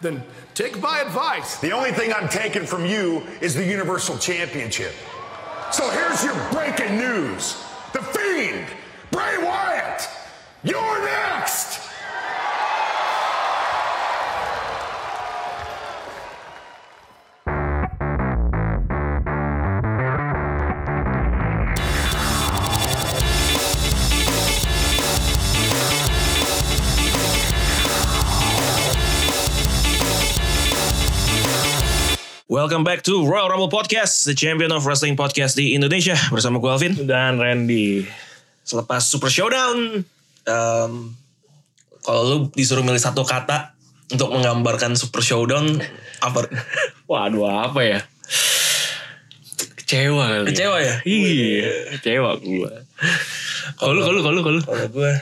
then take my advice. The only thing I'm taking from you is the Universal Championship. So here's your breaking news The Fiend, Bray Wyatt, you're next! Welcome back to Royal Rumble Podcast, the champion of wrestling podcast di Indonesia bersama gue Alvin. dan Randy. Selepas Super Showdown, em, kalau lu disuruh milih satu kata untuk menggambarkan Super Showdown, apa? Waduh apa ya? Kecewa kali. Kecewa ya? Iya, kecewa gua. Kalau lu, kalau lu, kalau lu, kalau lu. Kalau gue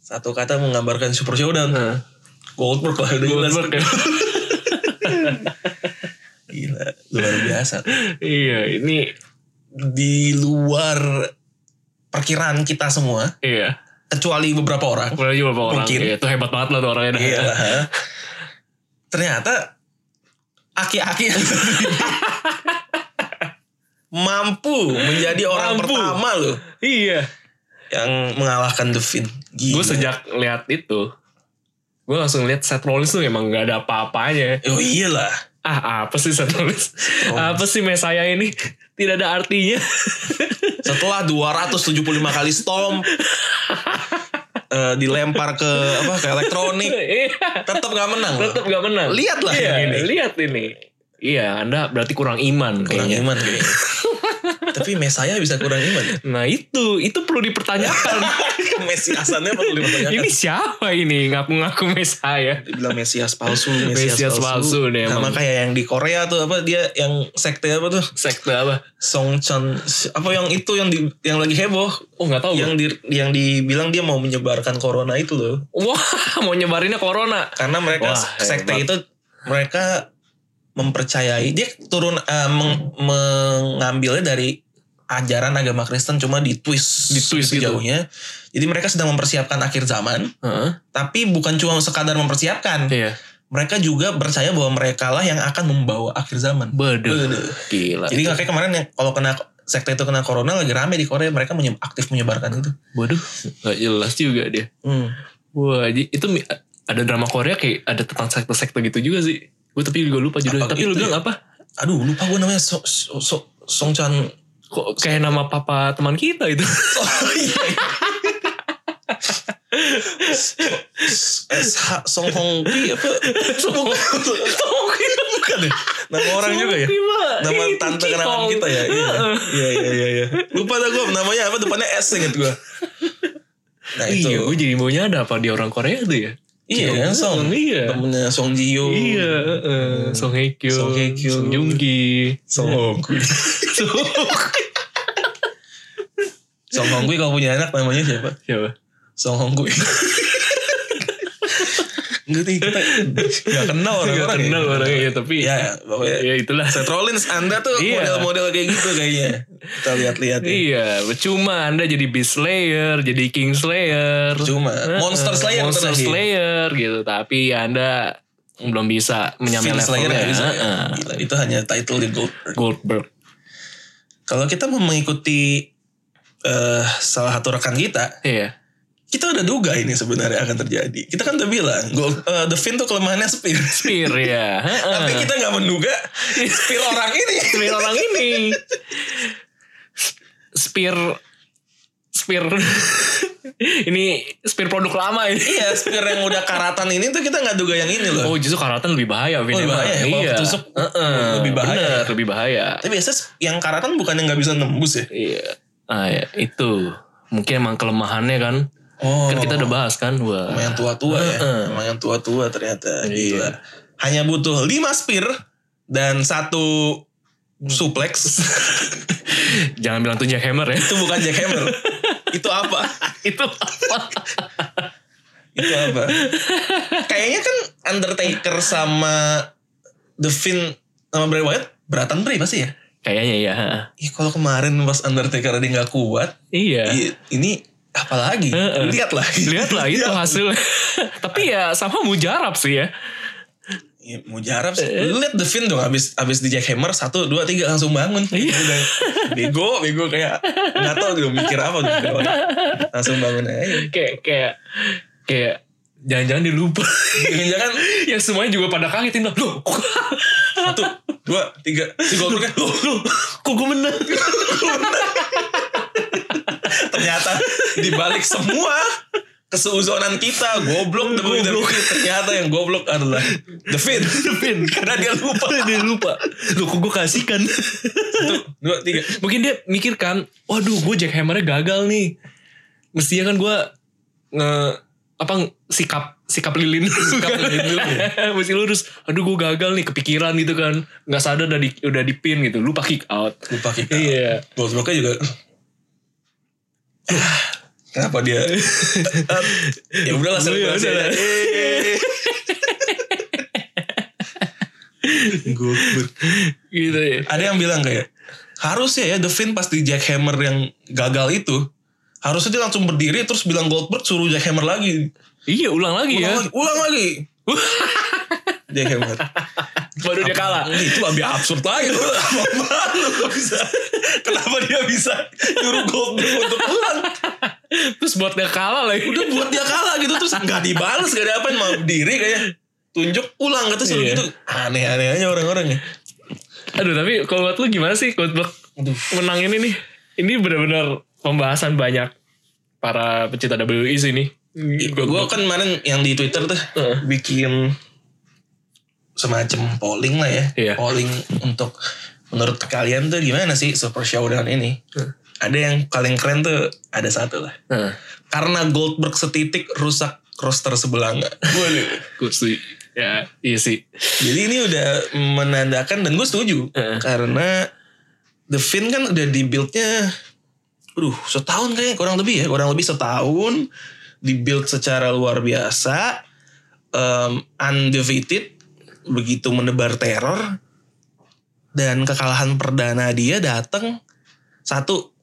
satu kata menggambarkan Super Showdown, Goldberg lah udah jelas. Goldberg ya. Gila, luar biasa. Iya, ini Di luar perkiraan kita semua, iya. kecuali beberapa orang. Kemudian juga beberapa orang. Mungkin. Iya, itu hebat banget lah tuh orangnya. dah. Iya. Ternyata aki-aki yang mampu menjadi orang Mampu. pertama loh Iya. yang mengalahkan The Fiend. Gila. Gue sejak lihat itu, gue langsung lihat Seth Rollins tuh emang gak ada apa-apanya. Oh iyalah. Ah, apa sih Seth Rollins? Oh. Apa sih saya ini? Tidak ada artinya. Setelah 275 kali stomp eh, dilempar ke apa ke elektronik Iya. tetap nggak menang. loh. tetap gak menang. Lihatlah iya, yang ini. Lihat ini. Iya, Anda berarti kurang iman Kurang kayaknya. iman kayaknya. Tapi mesaya bisa kurang iman. ya? Nah itu, itu perlu dipertanyakan. Mesiasannya perlu dipertanyakan. ini siapa ini ngaku-ngaku ya? saya? dibilang Mesias palsu, Mesias palsu deh Sama emang. kayak yang di Korea tuh apa dia yang sekte apa tuh? Sekte apa? Songchan apa yang itu yang di yang lagi heboh Oh nggak tahu. yang Yang... di yang dibilang dia mau menyebarkan corona itu loh. Wah mau nyebarinnya corona. Karena mereka Wah, sekte hebat. itu mereka mempercayai dia turun eh, meng- mengambilnya dari ajaran agama Kristen cuma ditwist Ditwist gitu. jauhnya. Jadi mereka sedang mempersiapkan akhir zaman, Heeh. tapi bukan cuma sekadar mempersiapkan. Iya. mereka juga percaya bahwa mereka lah yang akan membawa akhir zaman. Beduh. Beduh. Gila. Jadi kayak kemarin yang kalau kena sekte itu kena corona lagi rame di Korea mereka menye- aktif menyebarkan itu. Waduh. Gak jelas juga dia. Hmm. Wah ji- itu mi- ada drama Korea kayak ada tentang sekte-sekte gitu juga sih. Gue tapi gue lupa judulnya. Apa Tapi lu gitu bilang ya? apa? Aduh lupa gue namanya so, so, so, Songchan. Kok kayak nama papa teman kita itu. Oh, iya. SH Song Hong Ki apa? Bukan, bukan ya? Nama orang juga ya? Nama tante kenalan kita ya? Iya, Iya, iya, iya. iya. Lupa dah gue namanya apa depannya S inget gue. Nah itu. Iya, gue jadi maunya ada apa dia orang Korea tuh ya? Iya kan Song Iya. Temennya Song Ji Yo Iya, eh, Song Hye Kyo, Oh. Hmm. Song Song, Hye Kyo. Joong Ki, Song Hong Kui Song Hong Kui kalau punya anak namanya siapa? siapa? Song Hong Kui Enggak nih kita Gak kenal orang-orang Gak ya. kenal orangnya ya, tapi Ya pokoknya ya itulah. Seth Rollins anda tuh Iya. model-model kayak gitu kayaknya Kita lihat-lihat ya Iya, percuma Anda jadi Beast Slayer, jadi King Slayer. Cuma Eh, Monster Slayer Monster bentar lagi. Slayer gitu, tapi ya Anda belum bisa menyamai Finn Slayer levelnya. nggak bisa ya. Eh, eh. Gila, Itu hanya title di Goldberg Goldberg. Kalau kita mau mengikuti eh Salah satu rekan kita Iya. kita udah duga ini sebenarnya akan terjadi. Kita kan udah bilang, gol, eh, The Fin tuh kelemahannya spear. Spear ya. Eh, eh. Tapi kita nggak menduga spear orang ini. Spear orang ini. Spear Spear ini spear produk lama ini. iya, spear yang udah karatan ini tuh kita nggak duga yang ini loh. Oh justru karatan lebih bahaya Vin Oh, lebih emang. bahaya ya? Kalau Iya ketusuk, Heeh. lebih bahaya Bener, ya? Lebih bahaya Tapi biasanya yang karatan bukan yang nggak bisa nembus ya. Iya ah, ya, Itu Mungkin emang kelemahannya kan Oh, Kan kita udah bahas kan Wah Emang yang tua-tua ya. Emang yang tua-tua ternyata. Iya. Gila. Hanya butuh 5 spear dan satu suplex. Jangan bilang tuh jackhammer ya itu bukan jackhammer. itu apa? Itu apa Itu apa? Kayaknya kan Undertaker sama The Finn sama Bray Wyatt beratan Bray pasti ya? Kayaknya ya heeh. Ih kalau kemarin pas Undertaker dia nggak kuat, Iya i- ini apalagi? Heeh. Lihatlah. Lihatlah itu hasil Tapi ya sama mujarab sih ya Ya, mau jarap sih. Lu liat The Fin dong abis, abis di Jackhammer. Satu, dua, tiga langsung bangun. Gitu deh. bego, bego kayak. Gak tau gitu mikir apa. tuh mikir orang. Langsung bangun aja. kayak kayak kayak jangan-jangan dia lupa Jangan-jangan ya semuanya juga pada kaget ini loh kok satu, dua, tiga. Si Goldberg kan. "Loh, loh, kok gue menang ternyata dibalik semua keseuzonan kita goblok demi goblok ternyata yang goblok adalah The Fin The Fin karena dia lupa dia lupa loh kok gue kasihkan satu dua tiga mungkin dia mikir kan waduh gue jackhammernya gagal nih mestinya kan gue nge apa sikap sikap lilin sikap lilin dulu ya? mesti lurus aduh gue gagal nih kepikiran gitu kan nggak sadar udah di udah dipin gitu lupa kick out lupa kita iya gobloknya juga "Ah, kenapa dia Eh, ya udahlah Ya selebrasi udahlah. aja. Eh. Goblok. gitu ya ada yang bilang kayak harusnya ya The Finn pas di jackhammer yang gagal itu harusnya dia langsung berdiri terus bilang Goldberg suruh jackhammer lagi iya ulang lagi ulang ya lagi ulang lagi jackhammer baru dia kalah Ini itu lebih absurd lagi lu Apaan lu kok bisa kenapa dia bisa nyuruh Goldberg untuk ulang terus buat dia kalah lagi udah buat dia kalah gitu terus nggak dibales gak ada apa mau berdiri kayak tunjuk ulang kata suruh Iya. gitu aneh-aneh aja orang-orang ya Aduh tapi kalau buat lu gimana sih untuk menang ini nih? Ini benar-benar pembahasan banyak para pecinta E WWE sini. Gue gua kan kemarin yang di Twitter tuh Iya, Heeh. bikin semacam polling lah ya. Iya. Polling untuk menurut kalian tuh gimana sih Super Showdown ini? Ada yang paling keren tuh ada satu lah. Nah, Karena Goldberg setitik rusak roster sebelah nggak. gue sih. Ya, iya sih. Jadi ini udah menandakan dan gue setuju Heeh. karena The Finn kan udah di build-nya aduh setahun kayaknya kurang lebih ya, kurang lebih setahun di build secara luar biasa em, undefeated begitu menebar teror dan kekalahan perdana dia datang satu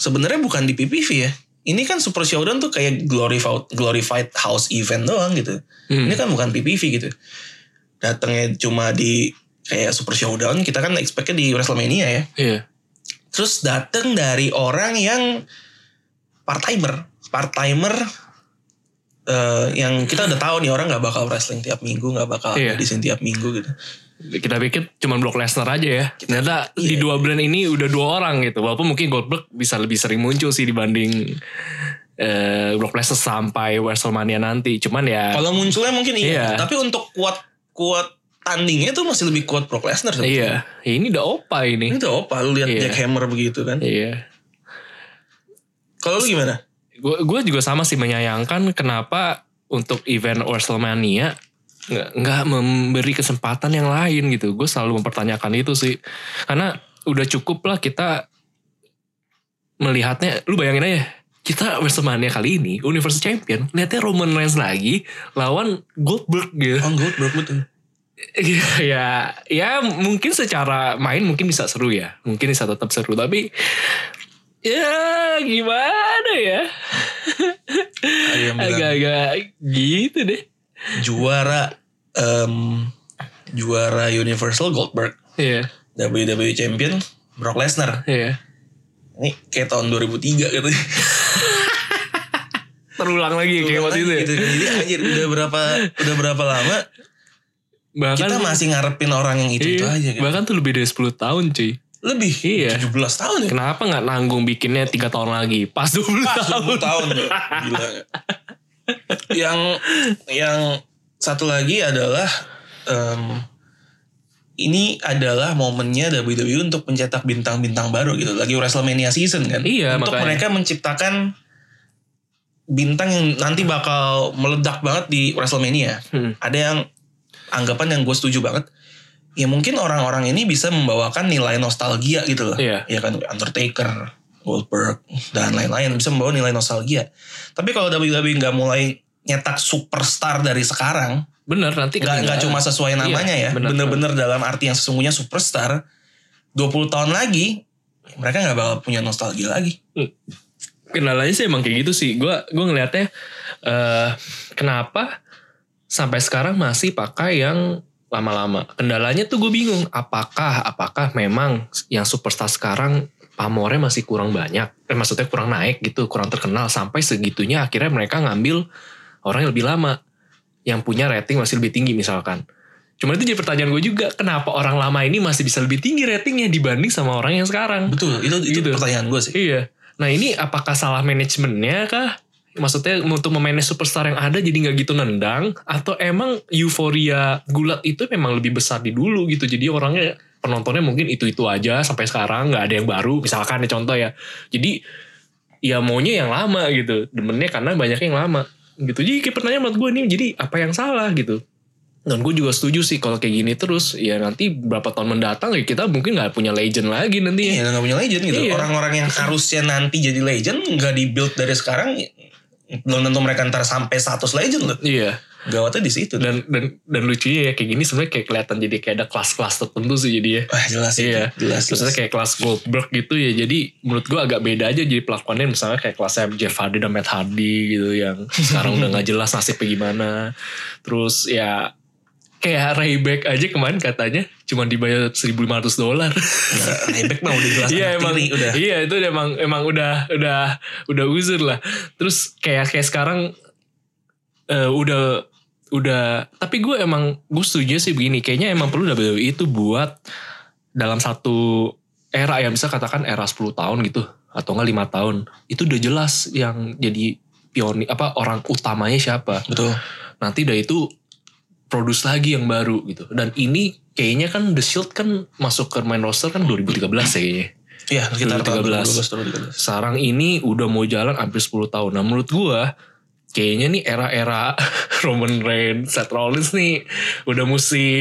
sebenarnya bukan di PPV ya. Ini kan Super Showdown tuh kayak glorified glorified house event doang gitu. Hmm. Ini kan bukan PPV gitu datangnya cuma di kayak Super Showdown kita kan expectnya di Wrestlemania ya Iya. terus datang dari orang yang part timer part timer eh, yang kita udah tahu nih orang nggak bakal wrestling tiap minggu nggak bakal Iya. di sini tiap minggu gitu Kita pikir cuman Brock Lesnar aja ya. Ternyata di dua brand ini udah dua orang gitu. Walaupun mungkin Goldberg bisa lebih sering muncul sih dibanding eh Brock Lesnar sampai WrestleMania nanti. Cuman ya kalau munculnya mungkin iya Iya. tapi untuk kuat kuat tandingnya tuh masih lebih kuat Brock Lesnar sebenarnya. iya, ya ini udah opa ini. ini tuh opa lu lihat Iya. Jack Hammer begitu kan Iya. kalau lu gimana gue gue juga sama sih menyayangkan kenapa untuk event Wrestlemania nggak nggak memberi kesempatan yang lain gitu gue selalu mempertanyakan itu sih karena udah cukup lah kita melihatnya lu bayangin aja kita Wrestlemania kali ini Universal Champion lihatnya Roman Reigns lagi lawan Goldberg gitu Oh Goldberg betul ya ya mungkin secara main mungkin bisa seru ya mungkin bisa tetap seru tapi ya gimana ya ada yang bilang agak-agak gitu deh juara em, juara Universal Goldberg Iya, WWE Champion Brock Lesnar. iya. Ini kayak tahun 2003 gitu. Terulang lagi kayak waktu itu. ya. Gitu. Jadi anjir udah berapa udah berapa lama Bahkan kita masih ngarepin orang yang iya, itu-itu aja kan. Bahkan tuh lebih dari 10 tahun cuy. Lebih Iya. 17 tahun ya. Kenapa nggak nanggung bikinnya 3 tahun lagi? Pas 20 tahun. 10 tahun tuh. Gila. nggak? yang yang satu lagi adalah em, ini adalah momennya WWE untuk mencetak bintang-bintang baru gitu. Lagi WrestleMania season kan. Iya, untuk makanya. mereka menciptakan bintang yang nanti bakal meledak banget di WrestleMania. Hmm. Ada yang anggapan yang gue setuju banget. Ya mungkin orang-orang ini bisa membawakan nilai nostalgia gitu loh. Iya. Ya kan Undertaker, Goldberg dan lain-lain bisa membawa nilai nostalgia. Tapi kalau WWE nggak mulai nyetak superstar dari sekarang, Bener nanti nggak nggak ketinggalan. cuma sesuai namanya ya Iya, benar. bener-bener dalam arti yang sesungguhnya superstar 20 tahun lagi mereka nggak bakal punya nostalgia lagi kendalanya sih emang kayak gitu sih. Gua gua ngelihatnya eh kenapa sampai sekarang masih pakai yang lama-lama. Kendalanya tuh gue bingung, apakah apakah memang yang superstar sekarang pamornya masih kurang banyak, eh, maksudnya kurang naik gitu, kurang terkenal sampai segitunya akhirnya mereka ngambil orang yang lebih lama yang punya rating masih lebih tinggi misalkan. Cuman itu jadi pertanyaan gue juga, kenapa orang lama ini masih bisa lebih tinggi ratingnya dibanding sama orang yang sekarang? Betul, itu itu Gitu. pertanyaan gue sih. Iya. Nah ini apakah salah manajemennya kah? Maksudnya untuk memanage superstar yang ada jadi nggak gitu nendang? Atau emang euforia gulat itu memang lebih besar di dulu gitu? Jadi orangnya penontonnya mungkin itu-itu aja sampai sekarang nggak ada yang baru misalkan ya contoh ya. Jadi ya maunya yang lama gitu. Demennya karena banyak yang lama gitu. Jadi kayak pertanyaan buat gue nih jadi apa yang salah gitu? Dan gue juga setuju sih kalau kayak gini terus ya nanti berapa tahun mendatang ya kita mungkin nggak punya legend lagi nanti ya. Iya, nggak punya legend gitu. Iya. Orang-orang yang harusnya nanti jadi legend nggak dibuild dari sekarang belum tentu mereka ntar sampai status legend loh. Iya. Gawatnya di situ. dan dan dan lucunya ya kayak gini sebenarnya kayak kelihatan jadi kayak ada kelas-kelas tertentu sih jadi ya Wah jelas itu, iya jelas. maksudnya jelas. kayak kelas Goldberg gitu ya jadi menurut gua agak beda aja jadi pelakuannya misalnya kayak kelasnya Jeff Hardy dan Matt Hardy gitu yang sekarang udah nggak jelas nasibnya gimana terus ya kayak Rayback aja kemarin katanya cuman dibayar 1.500 dolar Nah, Rebek mah udah jelas Iya anak emang tiri, udah. Iya itu udah emang emang udah udah udah uzur lah. Terus kayak kayak sekarang eh, udah udah tapi gue emang gue setuju sih begini kayaknya emang perlu WWE itu buat dalam satu era ya bisa katakan era 10 tahun gitu atau enggak lima tahun itu udah jelas yang jadi pionir apa orang utamanya siapa Betul. nanti udah itu produce lagi yang baru gitu dan ini kayaknya kan The Shield kan masuk ke main roster kan 2013 ya kayaknya Iya kita 2013. 13. sarang ini udah mau jalan hampir 10 tahun. Nah menurut gua kayaknya nih era-era Roman Reigns, Seth Rollins nih udah mesti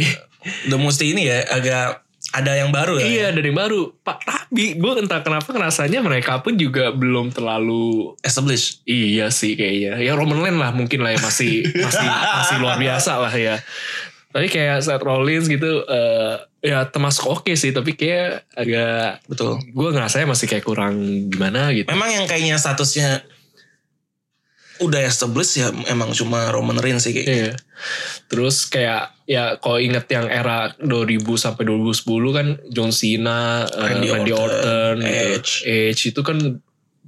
Udah mesti ini ya agak ada yang baru ya. iya dari baru. Pak tapi gua entah kenapa ngerasanya mereka pun juga belum terlalu Establish. iya sih kayaknya. Ya Roman Reigns lah mungkin lah ya masih masih masih luar biasa lah ya. Tapi kayak Seth Rollins gitu eh, ya termasuk oke sih tapi kayak agak Betul. gua ngerasanya masih kayak kurang gimana gitu. Memang yang kayaknya statusnya udah established ya emang cuma Roman Reigns sih kayak. Iya. Terus kayak ya kalau inget yang era 2000 sampai 2010 kan John Cena, eh, Randy, Randy Orton, Orton, gitu. Edge. Edge itu kan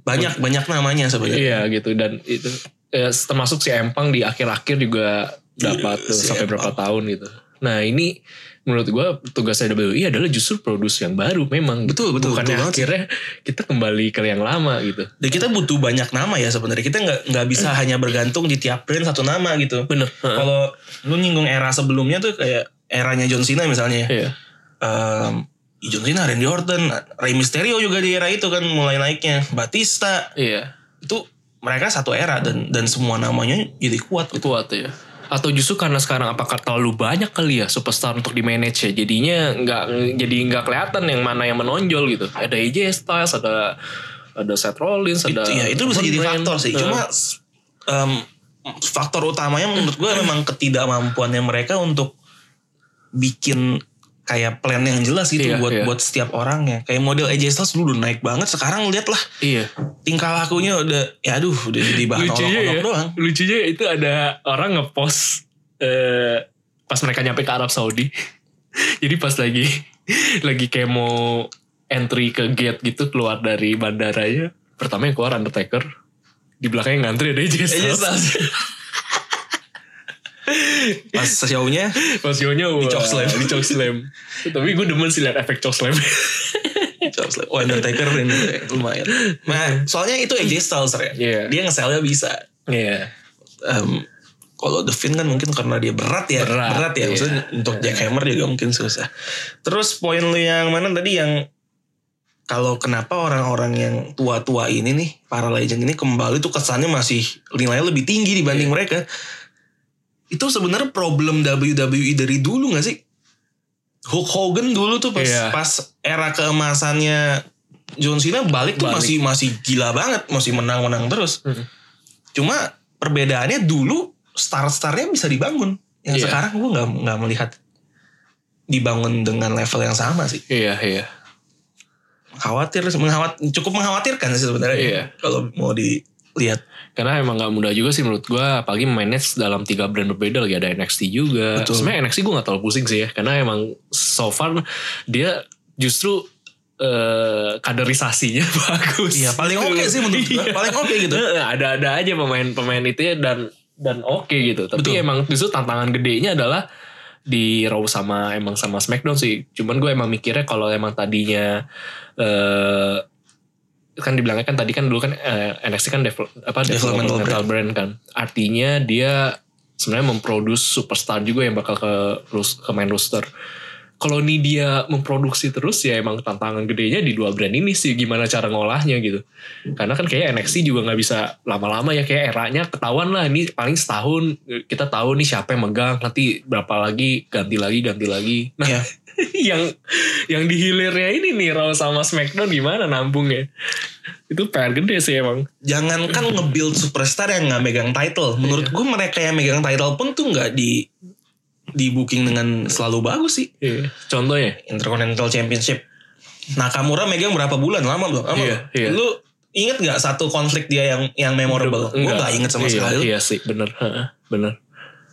Banyak banyak namanya sebenarnya. iya gitu dan itu eh, termasuk si Empang di akhir-akhir juga dapat Iya, tuh, si sampai berapa Empang. tahun gitu. Nah ini menurut gua tugasnya WWE adalah justru produce yang baru memang. Betul, betul, Bukannya betul banget sih. akhirnya kita kembali ke yang lama gitu. Dan kita butuh banyak nama ya sebenarnya. Kita nggak nggak bisa hanya bergantung di tiap brand satu nama gitu. Hmm. Bener. Kalau lu nyinggung era sebelumnya tuh kayak eranya John Cena misalnya. ya. Iya. Em, John Cena, Randy Orton, Rey Mysterio juga di era itu kan mulai naiknya. Batista Iya. itu mereka satu era dan dan semua namanya jadi kuat gitu. kuat ya atau justru karena sekarang apakah terlalu banyak kali ya superstar untuk di manage ya jadinya nggak jadi nggak kelihatan yang mana yang menonjol gitu ada AJ Styles ada ada Seth Rollins ada Iya. Itu- ya, itu bisa jadi Roman faktor sih. Reigns. Nah, Cuma s- em, faktor utamanya menurut gue memang ketidakmampuannya mereka untuk bikin kayak plan yang jelas gitu Iya, buat iya. buat setiap orangnya. Kayak model AJ Styles dulu udah naik banget. Sekarang lihat lah iya tingkah lakunya udah ya aduh udah jadi bahan lucunya olok-olok ya doang. lucunya itu ada orang ngepost eh, pas mereka nyampe ke Arab Saudi jadi pas lagi lagi kayak mau entry ke gate gitu keluar dari bandaranya pertama yang keluar Undertaker di belakangnya ngantri ada AJ AJ Styles Styles. Pas show-nya Mas Yonya wah, choke slam. Di choke slam. Tapi gue demen sih liat efek choke slam. Charles Lee- Oh Undertaker ini lumayan. Nah, soalnya itu AJ Styles ya. Iya. Dia ngeselnya bisa. Iya. Em, kalau The Fiend kan mungkin karena dia berat ya. Berat, ya. iya. Maksudnya untuk Jackhammer juga mungkin susah. Terus poin lu yang mana tadi yang kalau kenapa orang-orang yang tua-tua ini nih para legend ini kembali tuh kesannya masih nilainya lebih tinggi Iya. dibanding mereka. Itu sebenarnya problem WWE dari dulu gak sih? Hulk Hogan dulu tuh pas Iya. pas era keemasannya John Cena balik tuh Balik. masih masih gila banget, masih menang-menang terus. Hmm. Cuma perbedaannya dulu star-starnya bisa dibangun. Yang Iya. sekarang gue nggak nggak melihat dibangun dengan level yang sama sih. Iya, iya. Khawatir, menghawat, cukup mengkhawatirkan sih sebenarnya. Iya. Kalau mau di lihat. Karena emang gak mudah juga sih menurut gue. Apalagi manage dalam tiga brand berbeda lagi. Ada NXT juga. Betul. Sebenarnya NXT gue gak terlalu pusing sih ya. Karena emang so far dia justru eh, kaderisasinya bagus. Iya, paling oke sih menurut gua. Iya. Paling oke gitu. Heeh, Ada-ada aja pemain-pemain itu ya dan dan oke gitu. Tapi Betul. emang justru tantangan gedenya adalah di Raw sama emang sama SmackDown sih. Cuman gue emang mikirnya kalau emang tadinya eh kan dibilangnya kan tadi kan dulu kan eh, NXT kan devel- apa Developmental developmental, brand. kan. Artinya dia sebenarnya memproduksi superstar juga yang bakal ke rus- ke main roster. Kalau ini dia memproduksi terus ya emang tantangan gedenya di dua brand ini sih gimana cara ngolahnya gitu. Karena kan kayak NXT juga nggak bisa lama-lama ya kayak eranya ketahuan lah ini paling setahun eh, kita tahu nih siapa yang megang nanti berapa lagi ganti lagi ganti lagi. Nah Iya. yang yang di hilirnya ini nih Raw sama Smackdown gimana nampungnya itu PR gede sih emang Jangankan nge-build superstar yang nggak megang title. Iya. Menurut gua mereka yang megang title pun tuh nggak di di booking dengan selalu bagus sih. Iya. contohnya Intercontinental Championship. Nakamura megang berapa bulan? Lama belum? Lama Iya, belum? iya. Lu inget nggak satu konflik dia yang yang memorable? Gue nggak inget sama Iya, sekali. iya sih bener Heeh, bener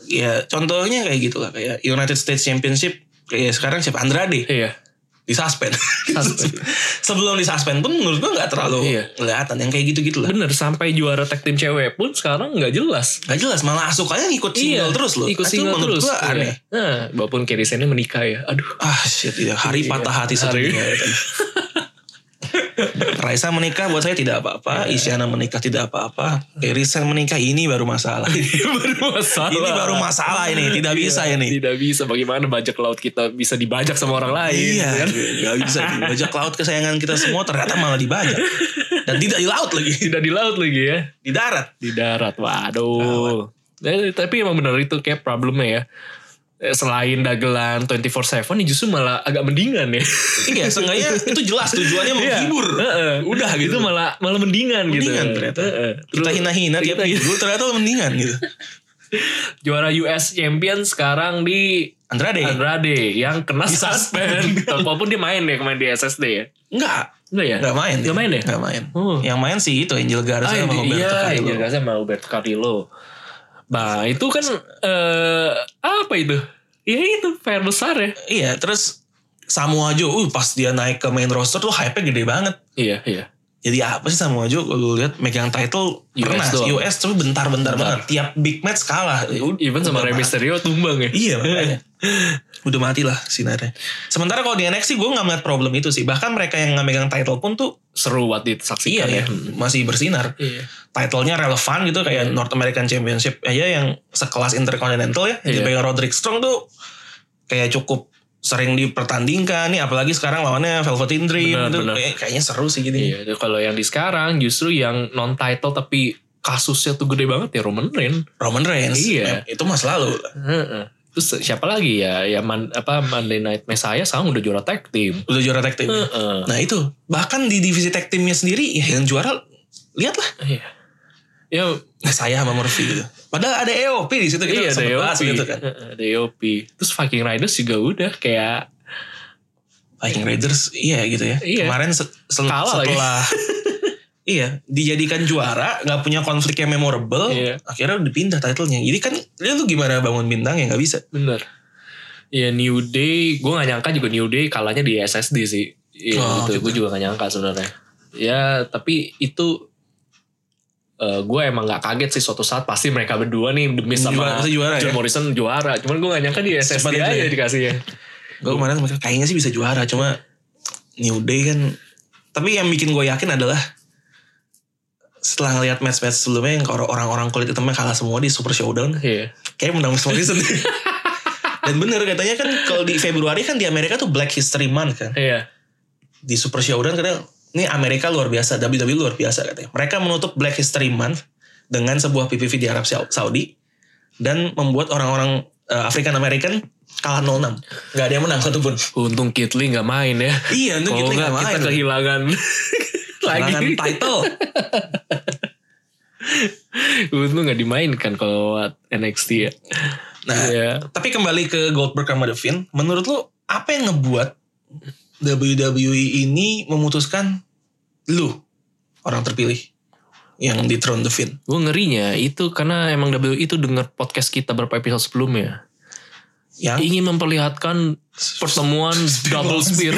Ya contohnya kayak gitu lah. Kayak United States Championship. Kayak sekarang siapa? Andrade. iya Disuspend. Suspend. Sebelum disuspend pun menurut gue nggak terlalu Iya. kelihatan. Yang kayak gitu-gitu lah. bener sampai juara tag team cewek pun sekarang nggak jelas Gak jelas malah asukannya ngikut single terus loh. Itu ikut Iya, single menurut terus gua iya. aneh. nah, walaupun Kerry Sane menikah ya aduh Ah shit ya. Hari Iya. patah hati satu Hari. dunia itu. Raisa menikah buat saya tidak apa-apa, Iya. Isyana menikah tidak apa-apa, Erisan menikah ini baru masalah. baru masalah Iya. ini baru masalah ini, tidak bisa ini. tidak bisa bagaimana bajak laut kita bisa dibajak sama orang lain Iya, gitu kan? gak bisa. Bajak laut kesayangan kita semua ternyata malah dibajak. Dan tidak di laut lagi, tidak di laut lagi ya di darat. di darat waduh Eh, tapi emang bener itu kayak problemnya ya Eh, selain dagelan 24/7 ini justru malah agak mendingan ya Iya, seenggaknya itu jelas tujuannya menghibur. Heeh. Oh, Udah gitu. itu malah malah mendingan, Iya. gitu Mendingan ternyata. Heeh. Kita Terus hina-hina tiap Kita- minggu ternyata mendingan gitu. juara US Champion sekarang di Andrade. Andrade yang kena Di suspend walaupun dia main ya kemarin di SSD ya Enggak. enggak ya Enggak main. enggak main ya Enggak main. Oh. Yang main sih itu Angel Garza Ah, sama ini- Roberto iya, Carrillo. iya, sama Roberto Carrillo. Nah, itu kan eh apa itu? Ya itu fair besar ya. Iya, terus Samoa Joe, uh, pas dia naik ke main roster tuh hype-nya gede banget. Iya, iya. Jadi apa sih Samoa Joe kalau lu lihat megang title US pernah doang. US tapi bentar-bentar banget. Tiap big match kalah. Even sama Udah Rey mati. Mysterio tumbang ya. Iya makanya. Udah mati lah sinarnya. Sementara kalau di NXT gue gak melihat problem itu sih. Bahkan mereka yang nggak megang title pun tuh Seru buat iya disaksikan ya, ya. masih bersinar. Iya. titlenya relevan gitu kayak North American Championship aja yang sekelas Intercontinental ya Iya. dipegang Roderick Strong tuh kayak cukup sering dipertandingkan nih apalagi sekarang lawannya Velveteen Dream Benar, gitu. benar. Kayak- kayaknya seru sih gitu Iya, kalau yang di sekarang justru yang non title tapi kasusnya tuh gede banget ya Roman Reigns. Roman Reigns Iya. eh, itu mas lalu Heeh. Terus siapa lagi ya? Ya man, apa Monday Night Messiah sekarang udah juara tag team. udah juara tag team Heeh. nah itu bahkan di divisi tag teamnya sendiri ya, yang juara lihatlah Iya. Ya saya sama Murphy gitu padahal ada EOP di situ kita iya, sempet bahas DOP. gitu kan Heeh, DOP. Terus Viking Riders juga udah kayak Viking Raiders iya gitu ya. Iya. Kemarin se- se- Kalah lagi. setelah iya dijadikan juara nggak punya konflik yang memorable Iya. akhirnya udah dipindah titlenya. Jadi kan dia tuh gimana bangun bintang ya nggak bisa. bener. Ya New Day, gue gak nyangka juga New Day kalahnya di SSD sih. Iya Oh, gitu, gue juga gak nyangka sebenarnya. Ya tapi itu gue emang gak kaget sih suatu saat pasti mereka berdua nih demi Juara- sama pasti juara John ya? Morrison juara. Cuman gue gak nyangka di SSD Secepat itu aja ya? dikasih ya. Gue kemarin mikir, kayaknya sih bisa juara cuma New Day kan. Tapi yang bikin gue yakin adalah setelah ngelihat match-match sebelumnya yang orang- orang-orang kulit hitamnya kalah semua di Super Showdown, Iya. kayak menang Miss Morrison. Dan bener katanya kan kalau di Februari kan di Amerika tuh Black History Month kan. Iya. di Super Showdown kadang ini Amerika luar biasa, WWE luar biasa katanya. Mereka menutup Black History Month dengan sebuah PPV di Arab Sau- Saudi dan membuat orang-orang eh, African American kalah 06. Gak ada yang menang satupun. Untung Kitli gak main ya. Iya, itu Kalau kita nggak, nggak main. kita kehilangan lagi. Kehilangan title. Untung gak dimainkan kalau buat NXT ya. Nah, Iya. tapi kembali ke Goldberg sama The Finn, menurut lu apa yang ngebuat E WWE ini memutuskan lu orang terpilih? yang di Throne the Fin. Gue ngerinya itu karena emang WWE itu denger podcast kita berapa episode sebelumnya. Yang Ingin memperlihatkan pertemuan double spear.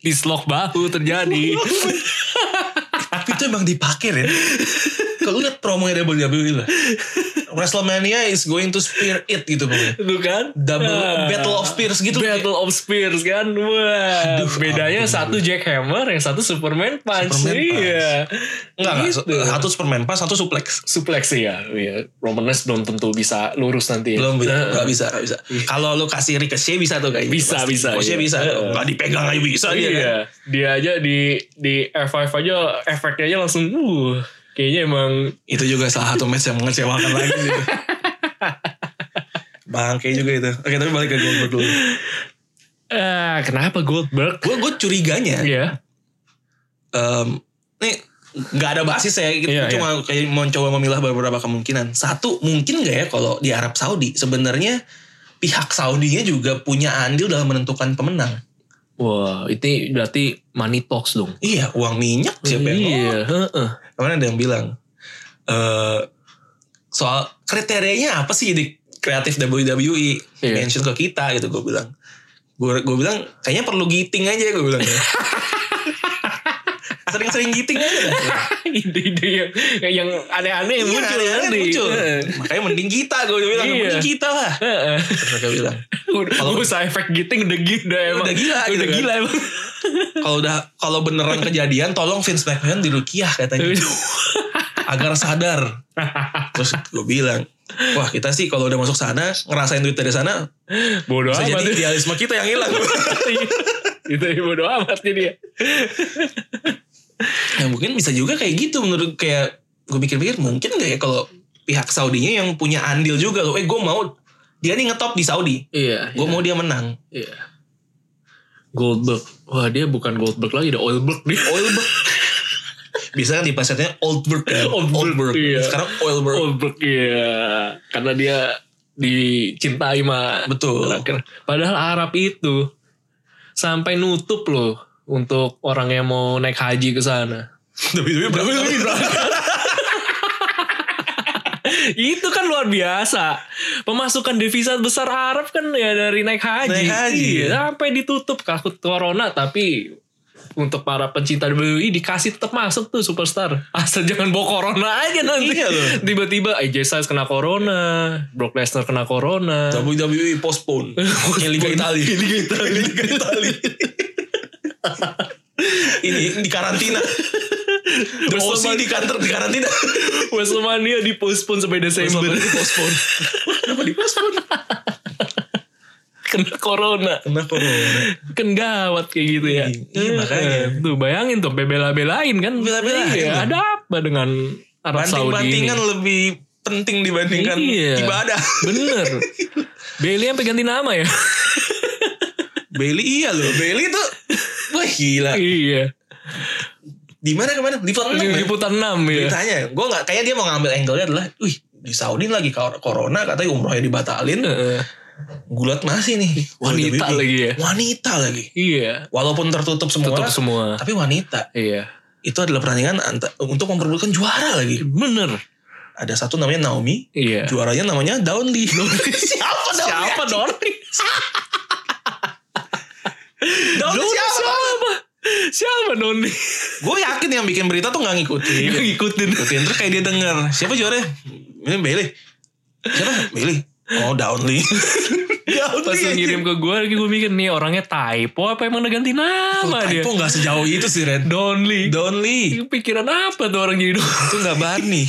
Dislok bahu terjadi. tapi itu emang dipakai Ren. Kalau lu lihat promonya WWE E lah. WrestleMania is going to spear it gitu pokoknya. Itu kan? Double Ah. Battle of Spears gitu. Battle of Spears kan. Wah. Aduh, bedanya ampun. satu Jackhammer, yang satu Superman Punch. Superman punch. iya. Enggak, enggak. Gitu. Satu Superman pas, satu suplex. suplex sih ya. Iya. Roman Reigns belum tentu bisa lurus nanti. Belum bisa, Eh, enggak bisa, enggak bisa. Kalau lu kasih Ricochet bisa tuh kayak Bisa, bisa, Ricochet iya. bisa. Enggak dipegang aja bisa dia iya. kan. Dia aja di di F5 aja efeknya aja langsung uh kayaknya emang Itu juga salah satu match yang mengecewakan lagi sih. Bangke juga itu. Oke, tapi balik ke Goldberg dulu. ah kenapa Goldberg? Gue gue curiganya. Iya. Em, nih nggak ada basis ya gitu. Iya, cuma kayak mau coba memilah beberapa kemungkinan satu mungkin nggak ya kalau di Arab Saudi sebenarnya pihak Saudinya juga punya andil dalam menentukan pemenang Wah, itu berarti money talks dong. iya uang minyak siapa yang iya, nolak? heeh. kemarin ada yang bilang eh soal kriterianya apa sih di kreatif WWE Iya. mention ke kita gitu gue bilang gue gue bilang kayaknya perlu giting aja gue bilang ya. sering-sering giting aja dah. Ide-ide yang yang aneh-aneh yang Iya, muncul ada-ada nanti. muncul. Heeh. Makanya mending kita gue bilang, Iya. mending kita lah. Heeh. Terus mereka bilang, Udah kalau usaha efek giting udah gila emang. Udah gila gitu udah kan. gila emang. kalau udah kalau beneran kejadian tolong Vince McMahon dirukiah katanya Iya. agar sadar. Terus gue bilang, wah kita sih kalau udah masuk sana ngerasain duit dari sana Bodoh bisa amat. Iya. jadi idealisme kita yang hilang. itu bodoh amat jadi ya. ya mungkin bisa juga kayak gitu menurut kayak gue pikir-pikir mungkin gak ya kalau pihak Saudinya yang punya andil juga loh. Eh gue mau dia nih ngetop di Saudi. Iya. Gue mau dia menang. Iya. Goldberg. Wah dia bukan Goldberg lagi, udah Oilberg dia. Oilberg. Bisa kan di pasarnya Oldberg kan? Oldberg, iya. Sekarang Oilberg. Oilberg iya. Karena dia dicintai mah. Betul. Padahal Arab itu sampai nutup loh untuk orang yang mau naik haji ke sana. WWE E berapa? itu kan luar biasa. Pemasukan devisa besar Arab kan ya dari naik haji. Naik haji. Iya, sampai ditutup takut corona tapi untuk para pencinta WWE dikasih tetap masuk tuh superstar. Asal jangan bawa corona aja nanti. Iya loh. Tiba-tiba AJ Styles kena corona, Brock Lesnar kena corona. WWE E postpone. Kayak Liga Itali. Liga Itali. Liga Itali. Ini di karantina. The OC di kantor di karantina. WrestleMania dipospon sampai Selama Desember. ini postpone. Kenapa di postpone? kena corona. Kena corona. Kan gawat kayak gitu ya. Iya, makanya. Tuh bayangin tuh bela-belain kan. Bela-belain. Iya, ada apa dengan Arab Saudi ini? Banting-bantingan lebih penting dibandingkan Iya. ibadah. Bener. Bailey sampai ganti nama ya. Bailey iya loh. Bailey tuh. Wah gila. iya. Di mana kemana? Di Vietnam. Di ya? liputan 6 ya. beritanya gue nggak kayak dia mau ngambil angle-nya adalah wih di Saudi lagi kor- corona katanya umrohnya dibatalin Heeh. gulat masih nih Wanita WWE. lagi ya? wanita lagi Iya. walaupun tertutup semua Tutup semua. tapi wanita Iya. itu adalah pertandingan anta- untuk memperebutkan juara lagi Bener. ada satu namanya Naomi Iya. juaranya namanya Downey siapa Downey Siapa Doni? Downey Doni siapa, siapa? Siapa Doni? gue yakin yang bikin berita tuh nggak ngikutin Yang ngikutin. ngikutin terus kayak dia denger siapa juaranya ini Bailey siapa Bailey oh Downey Pas lu Iya, ngirim ke gue lagi gue mikir nih orangnya typo apa emang udah ganti nama dia? Oh, Typo nggak sejauh itu sih Red. Donli. Donly Pikiran apa tuh orang jadi Don? itu nggak Barney.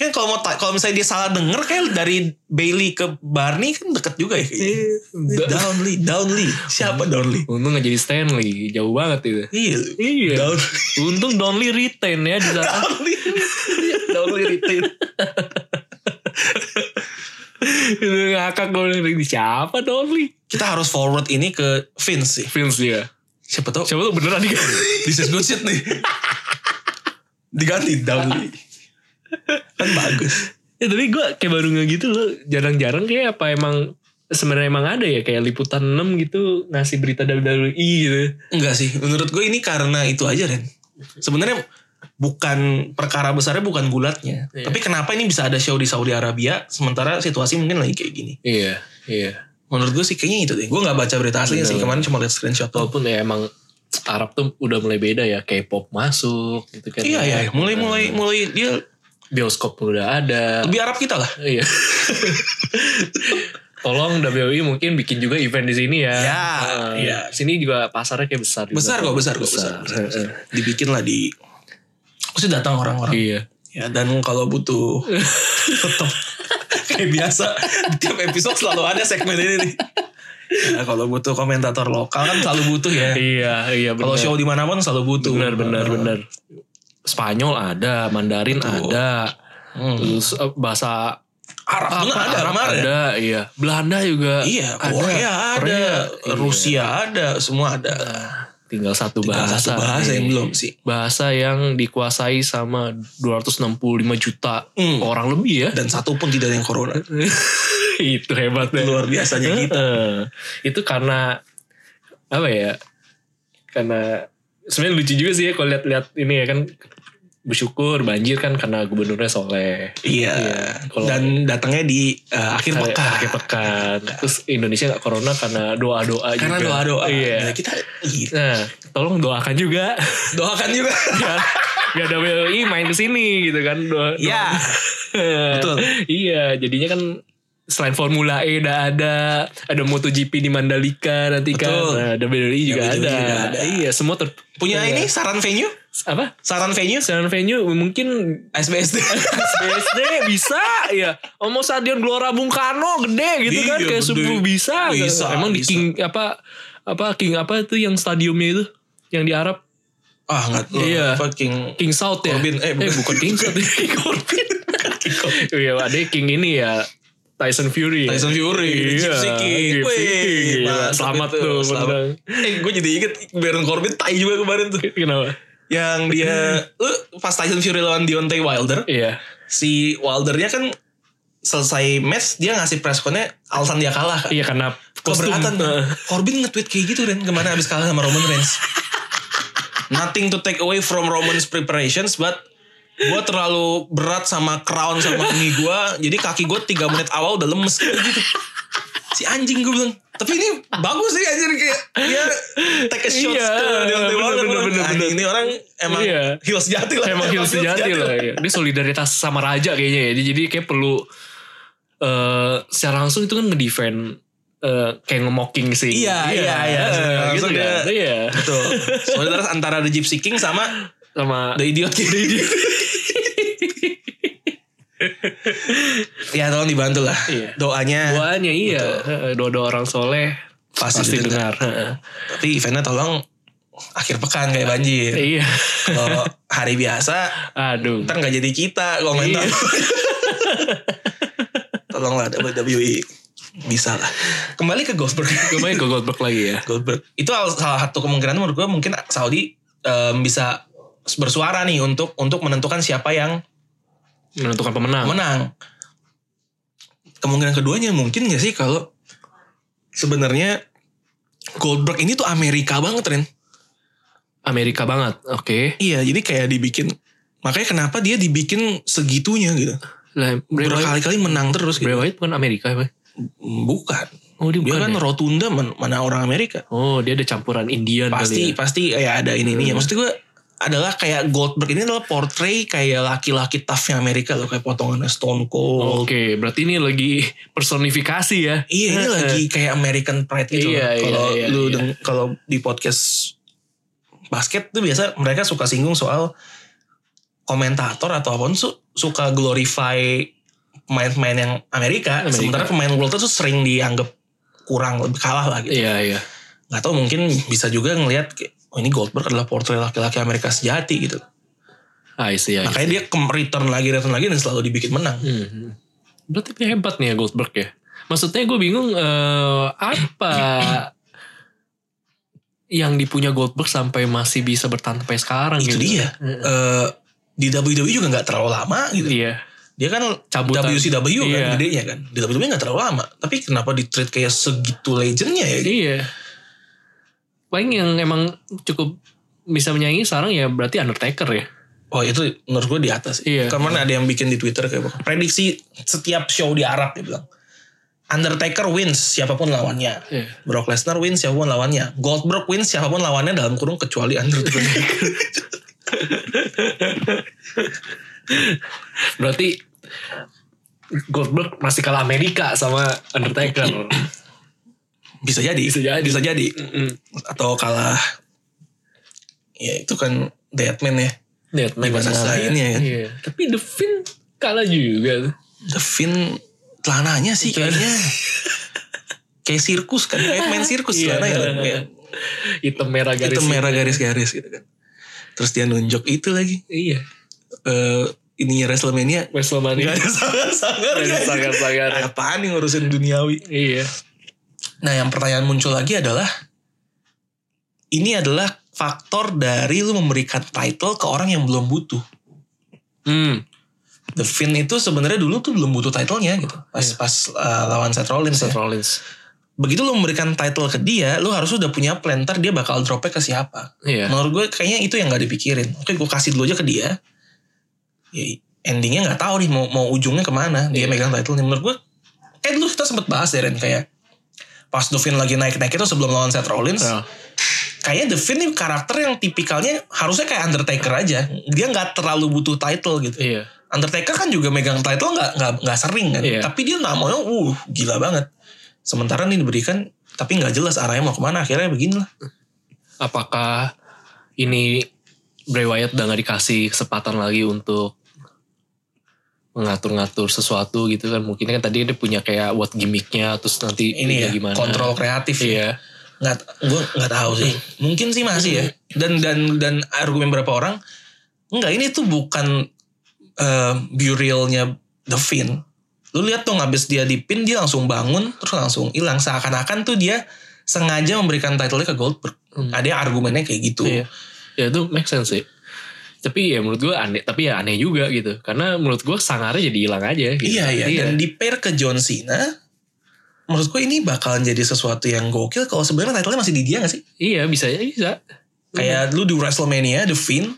kan kalau mau ta- kalau misalnya dia salah denger kayak dari Bailey ke Barney kan deket juga ya. kayaknya. Donly, Donly. Siapa Donly? Untung gak jadi Stanley, jauh banget itu. Iya. Iya. Donly. Untung Donli retain ya di sana. Donly. Donly retain. Itu ngakak gue ini siapa Donli? Kita harus forward ini ke Vince sih. Vince dia. Siapa tau Siapa tuh beneran nih? This is good shit nih. Diganti Donly. kan bagus. ya tapi gue kayak baru nggak gitu loh. Jarang-jarang kayak apa emang sebenarnya emang ada ya kayak liputan 6 gitu ngasih berita WWE gitu. Enggak sih, menurut gue ini karena itu aja Ren. Sebenarnya bukan perkara besarnya bukan gulatnya. Iya. Tapi kenapa ini bisa ada show di Saudi Arabia sementara situasi mungkin lagi kayak gini. Iya, iya. Menurut gue sih kayaknya itu deh. Gue nggak baca berita aslinya sih kemarin cuma lihat screenshot doang. Walaupun ya emang Arab tuh udah mulai beda ya, K-pop masuk gitu kan. Iya iya, mulai mulai mulai dia Bioskop udah ada. lebih Arab kita lah. Iya. Tolong WI mungkin bikin juga event di sini ya. Ya, Eh, iya. Sini juga pasarnya kayak besar. juga. Besar kok, besar kok, besar. besar, besar. Dibikin lah di Pasti datang orang-orang. Iya. Ya dan kalau butuh tetap kayak biasa di tiap episode selalu ada segmen ini nih. Ya, kalau butuh komentator lokal kan selalu butuh ya. Iya, iya Kalau benar. show dimanapun selalu butuh. Nah, benar benar benar. Spanyol ada, Mandarin ada. Terus eh, bahasa Hmm. Arab pun apa, ada Arab kemarin. ada, iya. Belanda juga. Iya, Korea ada, Korea. Iya. Rusia ada, semua ada. Tinggal satu Tinggal bahasa. satu bahasa yang nih. belum sih. Bahasa yang dikuasai sama 265 juta Hmm. orang lebih ya. Dan satu pun tidak ada yang corona. itu hebat deh. Luar biasanya Iya. gitu. kita. Heeh. Gitu. itu karena apa ya? Karena sebenarnya lucu juga sih ya kalau lihat-lihat ini ya kan bersyukur banjir kan karena gubernurnya soleh. Iya. Kalau- Dan datangnya di eh, akhir Hari- pekan. akhir pekan. Terus Indonesia nggak corona karena doa-doa juga. Karena doa-doa. Iya. Nah, kita iya, Nah, tolong doakan juga doakan juga. biar biar WI main ke sini gitu kan. Doa, doa- Iya. Betul. iya, jadinya kan selain Formula E udah ada, ada MotoGP di Mandalika nanti kan. Betul. Nah, WWE juga WWE ada. juga ada. Iya, semua ter Punya Iya. ini saran venue? apa? Saran venue? Saran venue mungkin SBSD. BSD bisa ya. Oh, mau stadion Gelora Bung Karno gede gitu kan Iya, kayak gede. subuh bisa. Bisa, Emang di bisa. King apa apa King apa itu yang stadiumnya itu yang di Arab ah, enggak. Iya. Fucking King South ya. Corbin. Eh, eh, bukan. bukan. King South, King Corbin. Iya, ada King ini ya. Tyson Fury. ya. Tyson Fury, Iya, Gypsy King. Gypsy King. Wih, Gila, mantap selamat itu, tuh, selamat. menang. Eh, gue jadi inget Baron Corbin tai juga kemarin tuh. Kenapa? Yang dia, lu pas Tyson Fury lawan Deontay Wilder, Iya. si Wildernya kan selesai match dia ngasih press connya alasan dia kalah kan. Iya karena kostum. Keberatan Heeh. Corbin nge-tweet kayak gitu Ren Kemana abis kalah sama Roman Reigns Nothing to take away from Roman's preparations But Gue terlalu berat sama crown sama ini gue Jadi kaki gue 3 menit awal udah lemes kayak gitu Si anjing gue bilang Tapi ini bagus sih anjir kayak Dia take a shot Iya, bener, bener, bener, Anjing bener. ini orang emang Iya. heels jati lah Emang heel sejati jati lah. iya. Dia solidaritas sama raja kayaknya ya. Dia Jadi kayak perlu eh secara langsung itu kan ngedefend eh kayak nge-mocking sih. Iya, iya, iya. Secara Eh, Gitu langsung kan. dia- Iya. Betul Soalnya terus antara The Gypsy King sama Sama The Idiot gitu. King Ya tolong dibantu lah Iya. Doanya doanya iya. Heeh, Doa-doa orang soleh Pasti pasti, didengar. dengar. Heeh. Tapi eventnya tolong Akhir pekan kayak banjir Iya. Kalau hari biasa Aduh. Ntar nggak jadi kita komentar Tolonglah WWE Bisa lah Kembali ke Goldberg Kemarin ke Goldberg lagi ya. Goldberg Itu salah satu kemungkinan menurut gue Mungkin Saudi em, Bisa bersuara nih untuk untuk menentukan siapa yang Menentukan pemenang. menang. Kemungkinan keduanya mungkin gak sih kalau sebenarnya Goldberg ini tuh Amerika banget Ren. Amerika banget. Oke. Iya, jadi kayak dibikin makanya kenapa dia dibikin segitunya gitu. Lah, Bray Wyatt, Berkali-kali menang terus Bray gitu. Wyatt bukan Amerika ya? Pak? Bukan. Oh dia Dia bukan kan ya? rotunda men- mana orang Amerika. Oh dia ada campuran Indian Pasti kali ya? pasti ya ada ini ini. Maksud gue adalah kayak Goldberg ini adalah portray kayak laki-laki toughnya Amerika loh kayak potongannya Stone Cold. Oh, Oke berarti ini lagi personifikasi ya? Iya ini Heeh. lagi kayak American Pride gitu. Iya, loh. Kalau iya, iya, lu iya. deng- kalau di podcast basket tuh biasa mereka suka singgung soal komentator atau apapun su- suka glorify pemain-pemain yang Amerika, Amerika. sementara pemain World tuh sering dianggap kurang lebih kalah lah gitu. Iya iya. Nggak tahu mungkin bisa juga ngelihat kayak, oh ini Goldberg adalah portrait laki-laki Amerika sejati gitu. Ah, I see, I see. Makanya dia kem- return lagi return lagi dan selalu dibikin menang. Mhm. Berarti dia hebat nih ya Goldberg ya? Maksudnya gue bingung eh, apa yang dipunya Goldberg sampai masih bisa bertahan sampai sekarang Itu gitu. dia. Eh, di WWE juga nggak terlalu lama gitu. Iya. dia kan Cabutan. WCW kan Iya. gedenya kan di WWE gak terlalu lama tapi kenapa di treat kayak segitu legendnya ya Iya. Paling yang emang cukup bisa menyaingi sekarang ya berarti Undertaker ya. Oh itu menurut gue di atas. Iya. Kemarin ada yang bikin di Twitter kayak apa, prediksi setiap show di Arab dia bilang. Undertaker wins siapapun lawannya. Iya. Brock Lesnar wins siapapun lawannya. Goldberg wins siapapun lawannya dalam kurung kecuali Undertaker. Berarti Goldberg masih kalah Amerika sama Undertaker. bisa jadi. Bisa jadi. Bisa jadi. Mm-mm. Atau kalah. Ya itu kan Deadman ya. Deadman Gimana benar, selainnya ya? Iya. Tapi The Finn kalah juga. The Finn celananya sih ya. kayaknya. kayak sirkus kan. Kayak main sirkus Iya, celananya. iya, kan. iya. Kayak Hitam merah garis. hitam merah garis-garis gitu kan. Terus dia nunjuk itu lagi. Iya. eh ininya WrestleMania Wrestlemania. Gak ada sangar-sangar Gak ada guys. sangar-sangar. Apaan nih ngurusin duniawi Iya. Nah yang pertanyaan muncul lagi adalah Ini adalah faktor dari lu memberikan title ke orang yang belum butuh Hmm. The Finn itu sebenarnya dulu tuh belum butuh titlenya gitu Pas, pas eh, lawan Seth Rollins ya. Iya. Seth Rollins. Begitu lu memberikan title ke dia Lu harus udah punya plan Ntar dia bakal dropnya ke siapa Iya. Menurut gue kayaknya itu yang gak dipikirin Oke gue kasih dulu aja ke dia ya, Endingnya gak tahu nih mau, mau ujungnya kemana Iya. Dia megang title nih Menurut gue Kayak dulu kita sempet bahas ya Ren Kayak Pas The Finn lagi naik-naik itu sebelum lawan Seth Rollins Nah, Kayaknya The Finn nih karakter yang tipikalnya Harusnya kayak Undertaker aja Dia gak terlalu butuh title gitu iya. Undertaker kan juga megang title nggak nggak nggak sering kan, Iya. tapi dia namanya uh gila banget. Sementara ini diberikan tapi nggak jelas arahnya mau kemana akhirnya beginilah. Apakah ini Bray Wyatt udah gak dikasih kesempatan lagi untuk mengatur-ngatur sesuatu gitu kan mungkin kan tadi dia punya kayak what gimmicknya terus nanti Ini dia ya kontrol kreatif. ya. iya nggak gue nggak tahu sih mungkin sih masih ya dan dan dan argumen berapa orang nggak ini tuh bukan eh, burialnya The Finn lu lihat dong habis dia dipin dia langsung bangun terus langsung hilang seakan-akan tuh dia sengaja memberikan title-nya ke Goldberg ada yang argumennya kayak gitu Hmm. Iya. Ya itu make sense sih. Tapi ya menurut gue aneh, tapi ya aneh juga gitu. Karena menurut gue sangarnya jadi hilang aja. Gitu. Iya iya dan di pair ke John Cena menurut gue ini bakalan jadi sesuatu yang gokil kalau sebenarnya title-nya masih di dia gak sih iya bisa ya bisa. Kayak lu di WrestleMania, The Finn,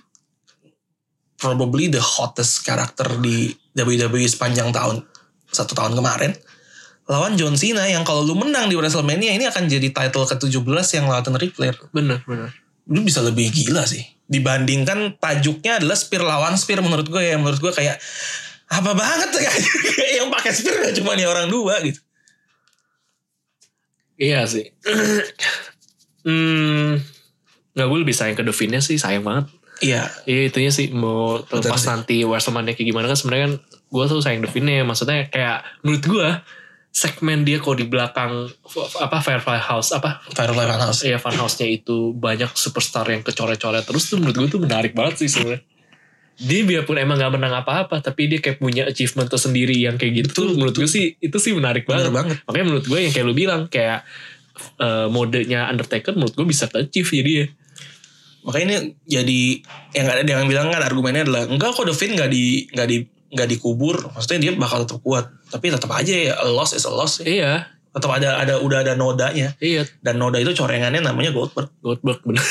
probably the hottest karakter di WWE sepanjang tahun satu tahun kemarin. Lawan John Cena yang kalau lu menang di WrestleMania ini akan jadi title ke-17 yang lawan Ripley. Bener bener. Lu bisa lebih gila sih. Dibandingkan tajuknya adalah spear lawan spear menurut gue ya. Menurut gue kayak apa banget kayak yang pakai spear gak cuma nih orang dua gitu. Iya sih. hmm, nggak gue lebih sayang ke Dovinnya sih sayang banget. Iya, Iya itunya sih mau terlepas sih. nanti Wrestlemania kayak gimana kan sebenarnya kan gue tuh sayang Dovinnya. Maksudnya kayak menurut gue segmen dia kalau di belakang apa Firefly House apa Firefly Funhouse. ya Funhouse-nya itu banyak superstar yang kecoret-coret terus tuh menurut gue tuh menarik banget sih sebenarnya. Dia biarpun emang gak menang apa-apa tapi dia kayak punya achievement tersendiri yang kayak gitu tuh menurut gue sih itu sih menarik Bener banget. banget. Makanya menurut gue yang kayak lu bilang kayak eh, modenya Undertaker menurut gue bisa ke achieve jadi Iya. ya. makanya ini jadi yang ada yang bilang kan argumennya adalah enggak kok Devin nggak di nggak di nggak dikubur maksudnya dia bakal tetap kuat tapi tetap aja ya a loss is a loss sih. Iya, tetap ada ada udah ada nodanya iya dan noda itu corengannya namanya Goldberg Goldberg bener.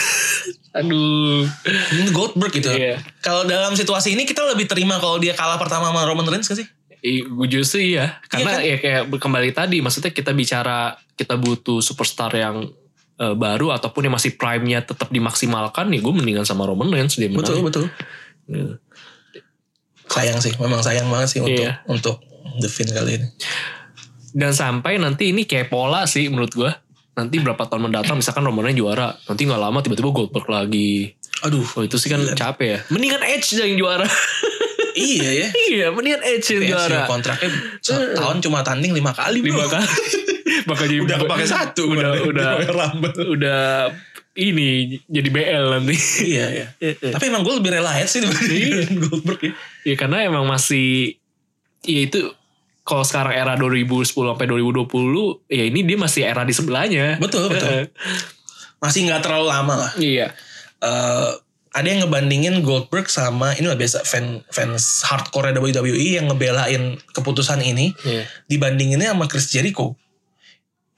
Aduh. Ini Goldberg gitu Iya. kalau dalam situasi ini kita lebih terima kalau dia kalah pertama sama Roman Reigns gak sih I- Gue justru iya karena kan? ya kayak kembali tadi maksudnya kita bicara kita butuh superstar yang eh, baru ataupun yang masih prime-nya tetap dimaksimalkan nih gue mendingan sama Roman Reigns dia menang. betul Iya. sayang sih memang sayang banget sih untuk Iya. untuk Devin kali ini dan sampai nanti ini kayak pola sih menurut gue nanti berapa tahun mendatang misalkan Roman Reigns juara nanti nggak lama tiba-tiba Goldberg lagi aduh oh itu sih kan capek ya mendingan Edge yang juara iya ya iya mendingan Edge yang juara Iya. PSG kontraknya tahun cuma tanding lima kali bro. lima kali bakal jadi udah kepake satu udah kemarin. udah Dia pakai Rumble. udah ini jadi BL nanti Iya, iya. Tapi emang gue lebih rela Edge sih Iya. dibanding Goldberg ya. Ya karena emang masih ya itu kalau sekarang era 2010 sampai 2020 ya ini dia masih era di sebelahnya. Betul, betul. Masih nggak terlalu lama lah. iya. Eh, ada yang ngebandingin Goldberg sama ini lah biasa fan fans hardcore WWE yang ngebelain E keputusan ini Iya. dibandinginnya sama Chris Jericho.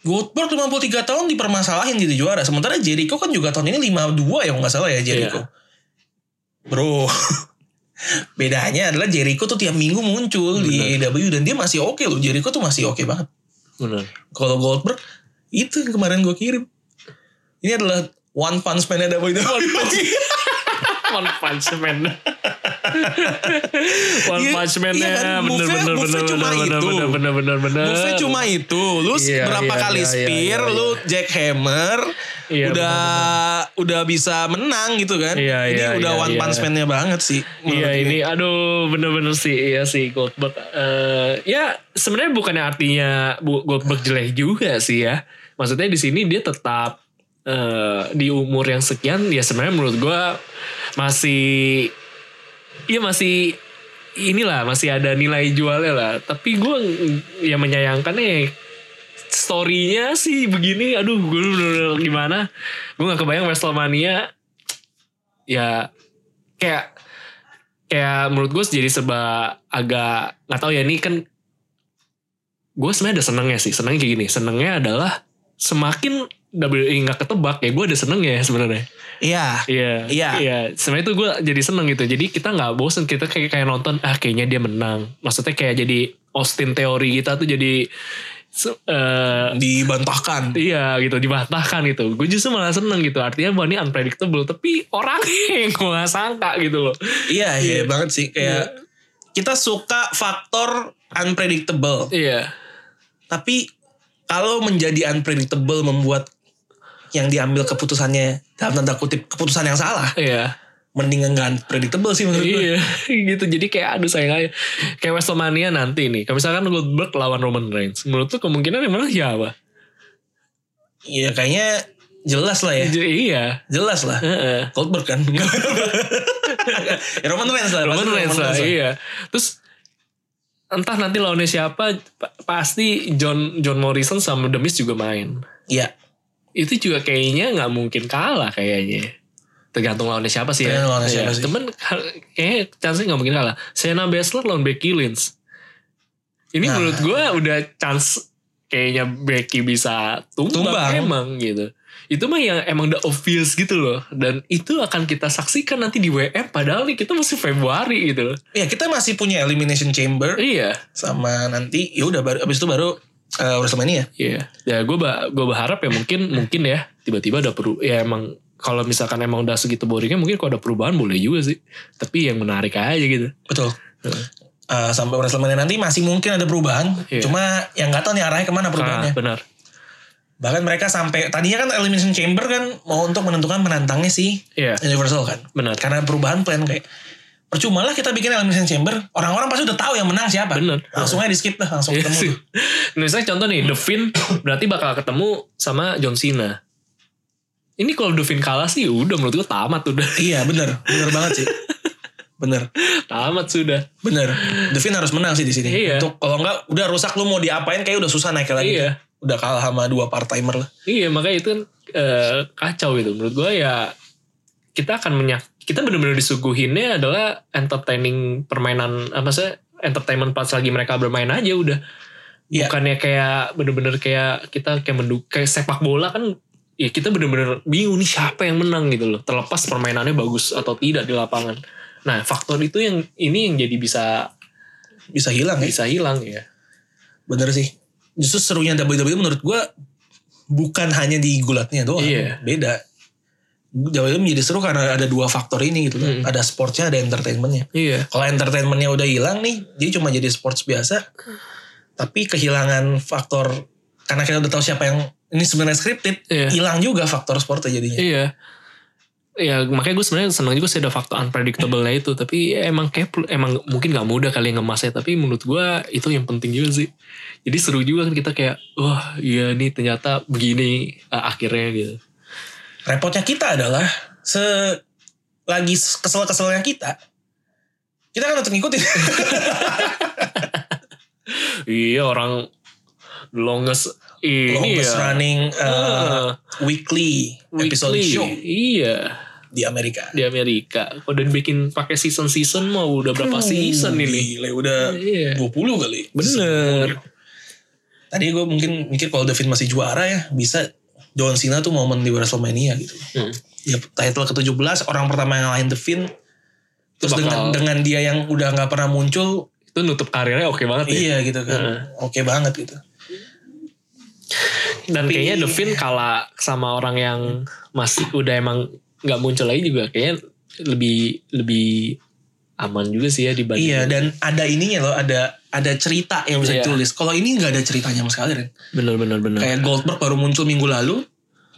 Goldberg 53 tahun dipermasalahin jadi juara. Sementara Jericho kan juga tahun ini 52 ya kalau nggak salah ya Jericho. Iya. Bro. Bedanya adalah Jericho tuh tiap minggu muncul di AEW dan dia masih oke loh. Jericho tuh masih oke banget. Bener. Kalau Goldberg itu yang kemarin gue kirim. Ini adalah One Punch Man ada itu. One Punch Man. One Iya, Punch Man-nya kan? bener bener bener bener bener bener bener bener bener. Move-nya cuma itu. Lu Nah. Iya, berapa iya, kali iya, spear, iya, iya, lu jackhammer, Iya, udah udah bisa menang gitu kan. Iya, Ini iya, udah iya, one iya. punch man-nya banget sih. Iya menurut ini gue. aduh bener-bener sih iya sih Goldberg. Eh, ya sebenarnya bukannya artinya Bu- Goldberg jelek juga sih ya. Maksudnya di sini dia tetap eh, di umur yang sekian ya sebenarnya menurut gua masih Iya masih inilah masih ada nilai jualnya lah. Tapi gue yang menyayangkannya story-nya sih begini. Aduh gue bener-bener gimana. Gue gak kebayang Wrestlemania ya kayak kayak Ya, menurut gue jadi serba agak nggak tahu ya ini kan gue sebenarnya ada senengnya sih seneng kayak gini senengnya adalah semakin WWE nggak ketebak ya gue ada senengnya sebenarnya Iya. Iya. Iya. Iya. Sebenarnya itu gue jadi seneng gitu. Jadi kita nggak bosen. Kita kayak kayak nonton. Ah kayaknya dia menang. Maksudnya kayak jadi Austin teori kita tuh jadi. se- eh, Dibantahkan. Iya gitu dibantahkan gitu. Gue justru malah seneng gitu. Artinya bahwa ini unpredictable. Tapi orang yang gue gak sangka gitu loh. Iya, iya banget sih. Kayak kita suka faktor unpredictable. Iya. Tapi kalau menjadi unpredictable membuat yang diambil keputusannya dalam tanda kutip keputusan yang salah Iya. mendingan gak unpredictable sih menurut gue. Iya gitu jadi kayak aduh sayang aja kayak Wrestlemania nanti nih kalau misalkan Goldberg lawan Roman Reigns menurut tuh kemungkinan yang menang siapa? Iya kayaknya jelas lah ya. Jadi iya Jelas lah. Heeh. Goldberg kan. ya Roman Reigns lah. pasti Roman Reigns lah, lah. iya. Terus entah nanti lawannya siapa, pa- pasti John John Morrison sama The Miz juga main. Iya. Itu juga kayaknya nggak mungkin kalah kayaknya. Tergantung lawannya siapa sih ya. Tergantung lawannya siapa Iya, sih. Cuman hal- kayaknya chance nggak mungkin kalah. Shayna Baszler lawan Becky Lynch. Ini Nah. menurut gue udah chance kayaknya Becky bisa tumbang, Tumbang. emang gitu. Itu mah yang emang the obvious gitu loh. Dan itu akan kita saksikan nanti di WM. Padahal nih kita masih Februari gitu loh. Ya kita masih punya Elimination Chamber Iya. sama nanti ya udah baru abis itu baru eh, WrestleMania. Iya. Ya gue ba gue berharap ya mungkin mungkin ya tiba-tiba ada peru ya emang kalau misalkan emang udah segitu boringnya mungkin kalau ada perubahan boleh juga sih. Tapi yang menarik aja gitu. Betul. Eh, sampai WrestleMania nanti masih mungkin ada perubahan. Iya. Cuma yang nggak tahu nih arahnya kemana Nah, perubahannya. benar. Bahkan mereka sampai tadinya kan Elimination Chamber kan mau untuk menentukan penantangnya si Iya. Universal kan. Benar. Karena perubahan plan kayak percuma lah kita bikin Elimination Chamber, orang-orang pasti udah tahu yang menang siapa. Benar. Langsung aja di skip lah, langsung Iya sih. ketemu. Nah, misalnya contoh nih, The Finn berarti bakal ketemu sama John Cena. Ini kalau The Finn kalah sih udah menurut gue tamat udah. iya, bener. Bener banget sih. Bener. tamat sudah. Bener. Devin harus menang sih di sini. Iya. Untuk kalau enggak udah rusak lu mau diapain kayak udah susah naik lagi. Iya. Udah kalah sama dua part timer lah. Iya makanya itu kan eh, kacau gitu menurut gue ya kita akan menyak kita benar-benar disuguhinnya adalah entertaining permainan apa sih entertainment pas lagi mereka bermain aja udah Iya. bukannya kayak bener-bener kayak kita kayak mendu kayak sepak bola kan ya kita bener-bener bingung nih siapa yang menang gitu loh terlepas permainannya bagus atau tidak di lapangan nah faktor itu yang ini yang jadi bisa Bisa hilang ya. bisa hilang ya Bener sih. Justru serunya WWE menurut gua bukan hanya di gulatnya doang. Iya. Beda. WWE menjadi seru karena ada dua faktor ini gitu. Hmm. kan. Ada sportsnya, ada entertainmentnya. iya Kalau entertainmentnya udah hilang nih, dia cuma jadi sports biasa. Tapi kehilangan faktor karena kita udah tahu siapa yang ini sebenarnya scripted, Iya. hilang juga faktor sportnya jadinya. Iya. Ya makanya gue sebenarnya seneng juga sih ada faktor unpredictable-nya itu. Tapi ya emang kayak perlu- emang mungkin gak mudah kali yang ngemasnya. Tapi menurut gue itu yang penting juga sih. Jadi seru juga kan kita kayak wah iya nih ternyata begini eh, akhirnya gitu. repotnya kita adalah se lagi kesel-keselnya kita kita kan untuk ngikutin Iya orang longest ini longest ya. running uh, Ah. weekly, episode weekly. show Iya di Amerika di Amerika. Kalau dan bikin pakai season-season mau Hmm. Hmm. udah berapa season ini? Gile, udah Iya. 20 kali Bener. Tadi gue mungkin mikir kalau David masih juara ya bisa John Cena tuh momen di WrestleMania gitu. Ya title ke-17 orang pertama yang ngalahin The Finn. Terus Bakal- dengan, dengan dia yang udah nggak pernah muncul Itu nutup karirnya oke banget ya. iya gitu kan. Oke banget gitu. Dan kayaknya Devin kalah sama orang yang masih udah emang nggak muncul lagi juga kayaknya lebih lebih aman juga sih ya dibanding Iya dan ada ininya loh, ada ada cerita yang bisa Iya. ditulis. Kalau ini nggak ada ceritanya sama sekali Ren. bener bener bener Kayak Goldberg baru muncul minggu lalu,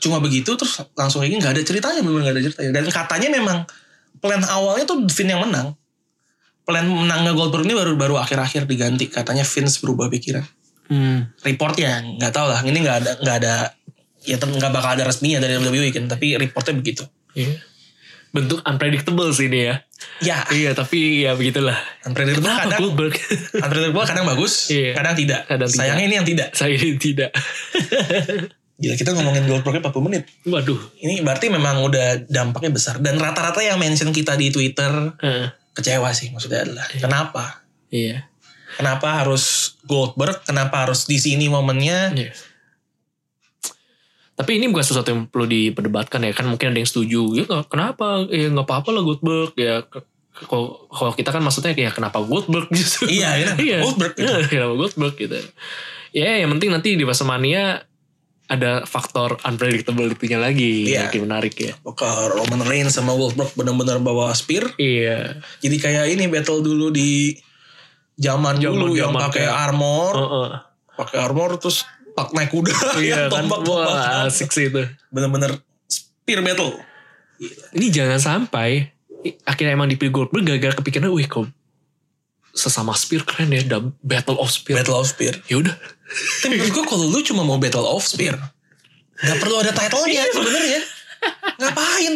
cuma begitu terus langsung ini nggak ada ceritanya, memang nggak ada ceritanya. Dan katanya memang plan awalnya tuh Finn yang menang. Plan menangnya Goldberg ini baru baru akhir-akhir diganti. Katanya Vince berubah pikiran. Hmm. Reportnya nggak tahu lah. Ini nggak ada nggak ada ya tem- nggak bakal ada resminya dari WWE kan. Tapi reportnya begitu. Iya. bentuk unpredictable sih ini ya Ya, iya tapi ya begitulah unpredictable kenapa kadang Goldberg unpredictable kadang bagus, Iya. kadang tidak. Kadang tidak. Sayangnya ini yang tidak. saya tidak Gila kita ngomongin Goldbergnya 40 menit. waduh Ini berarti memang udah dampaknya besar. Dan rata-rata yang mention kita di Twitter Heeh. kecewa sih maksudnya adalah kenapa? iya Kenapa harus Goldberg? Kenapa harus di sini momennya? Iya. Tapi ini bukan sesuatu yang perlu diperdebatkan ya kan mungkin ada yang setuju ya nggak- kenapa ya nggak apa-apa lah Goldberg ya ke- ke- kalau kalau kita kan maksudnya ya kenapa Goldberg justru Iya, iya, Goldberg Goldberg gitu. kenapa Goldberg gitu ya yang penting nanti di Wrestlemania ada faktor unpredictable itunya lagi Iya. yang menarik ya Apakah Roman Reigns sama Goldberg benar-benar bawa spear? iya Jadi kayak ini battle dulu di zaman dulu yang Zaman-zaman pakai kayak- armor, Heeh. pakai armor terus pak naik kuda, yang iya kan wah tombak-tombakan. asik sih itu Bener-bener spear battle. ini jangan sampai i- akhirnya emang dipilih Goldberg gara-gara kepikiran wih kok sesama Spear keren ya the Battle of Spear Battle of spear. ya udah Tapi menurut gue kalau lu cuma mau Battle of Spear, gak perlu ada title-nya Iya. sebenarnya. Ngapain?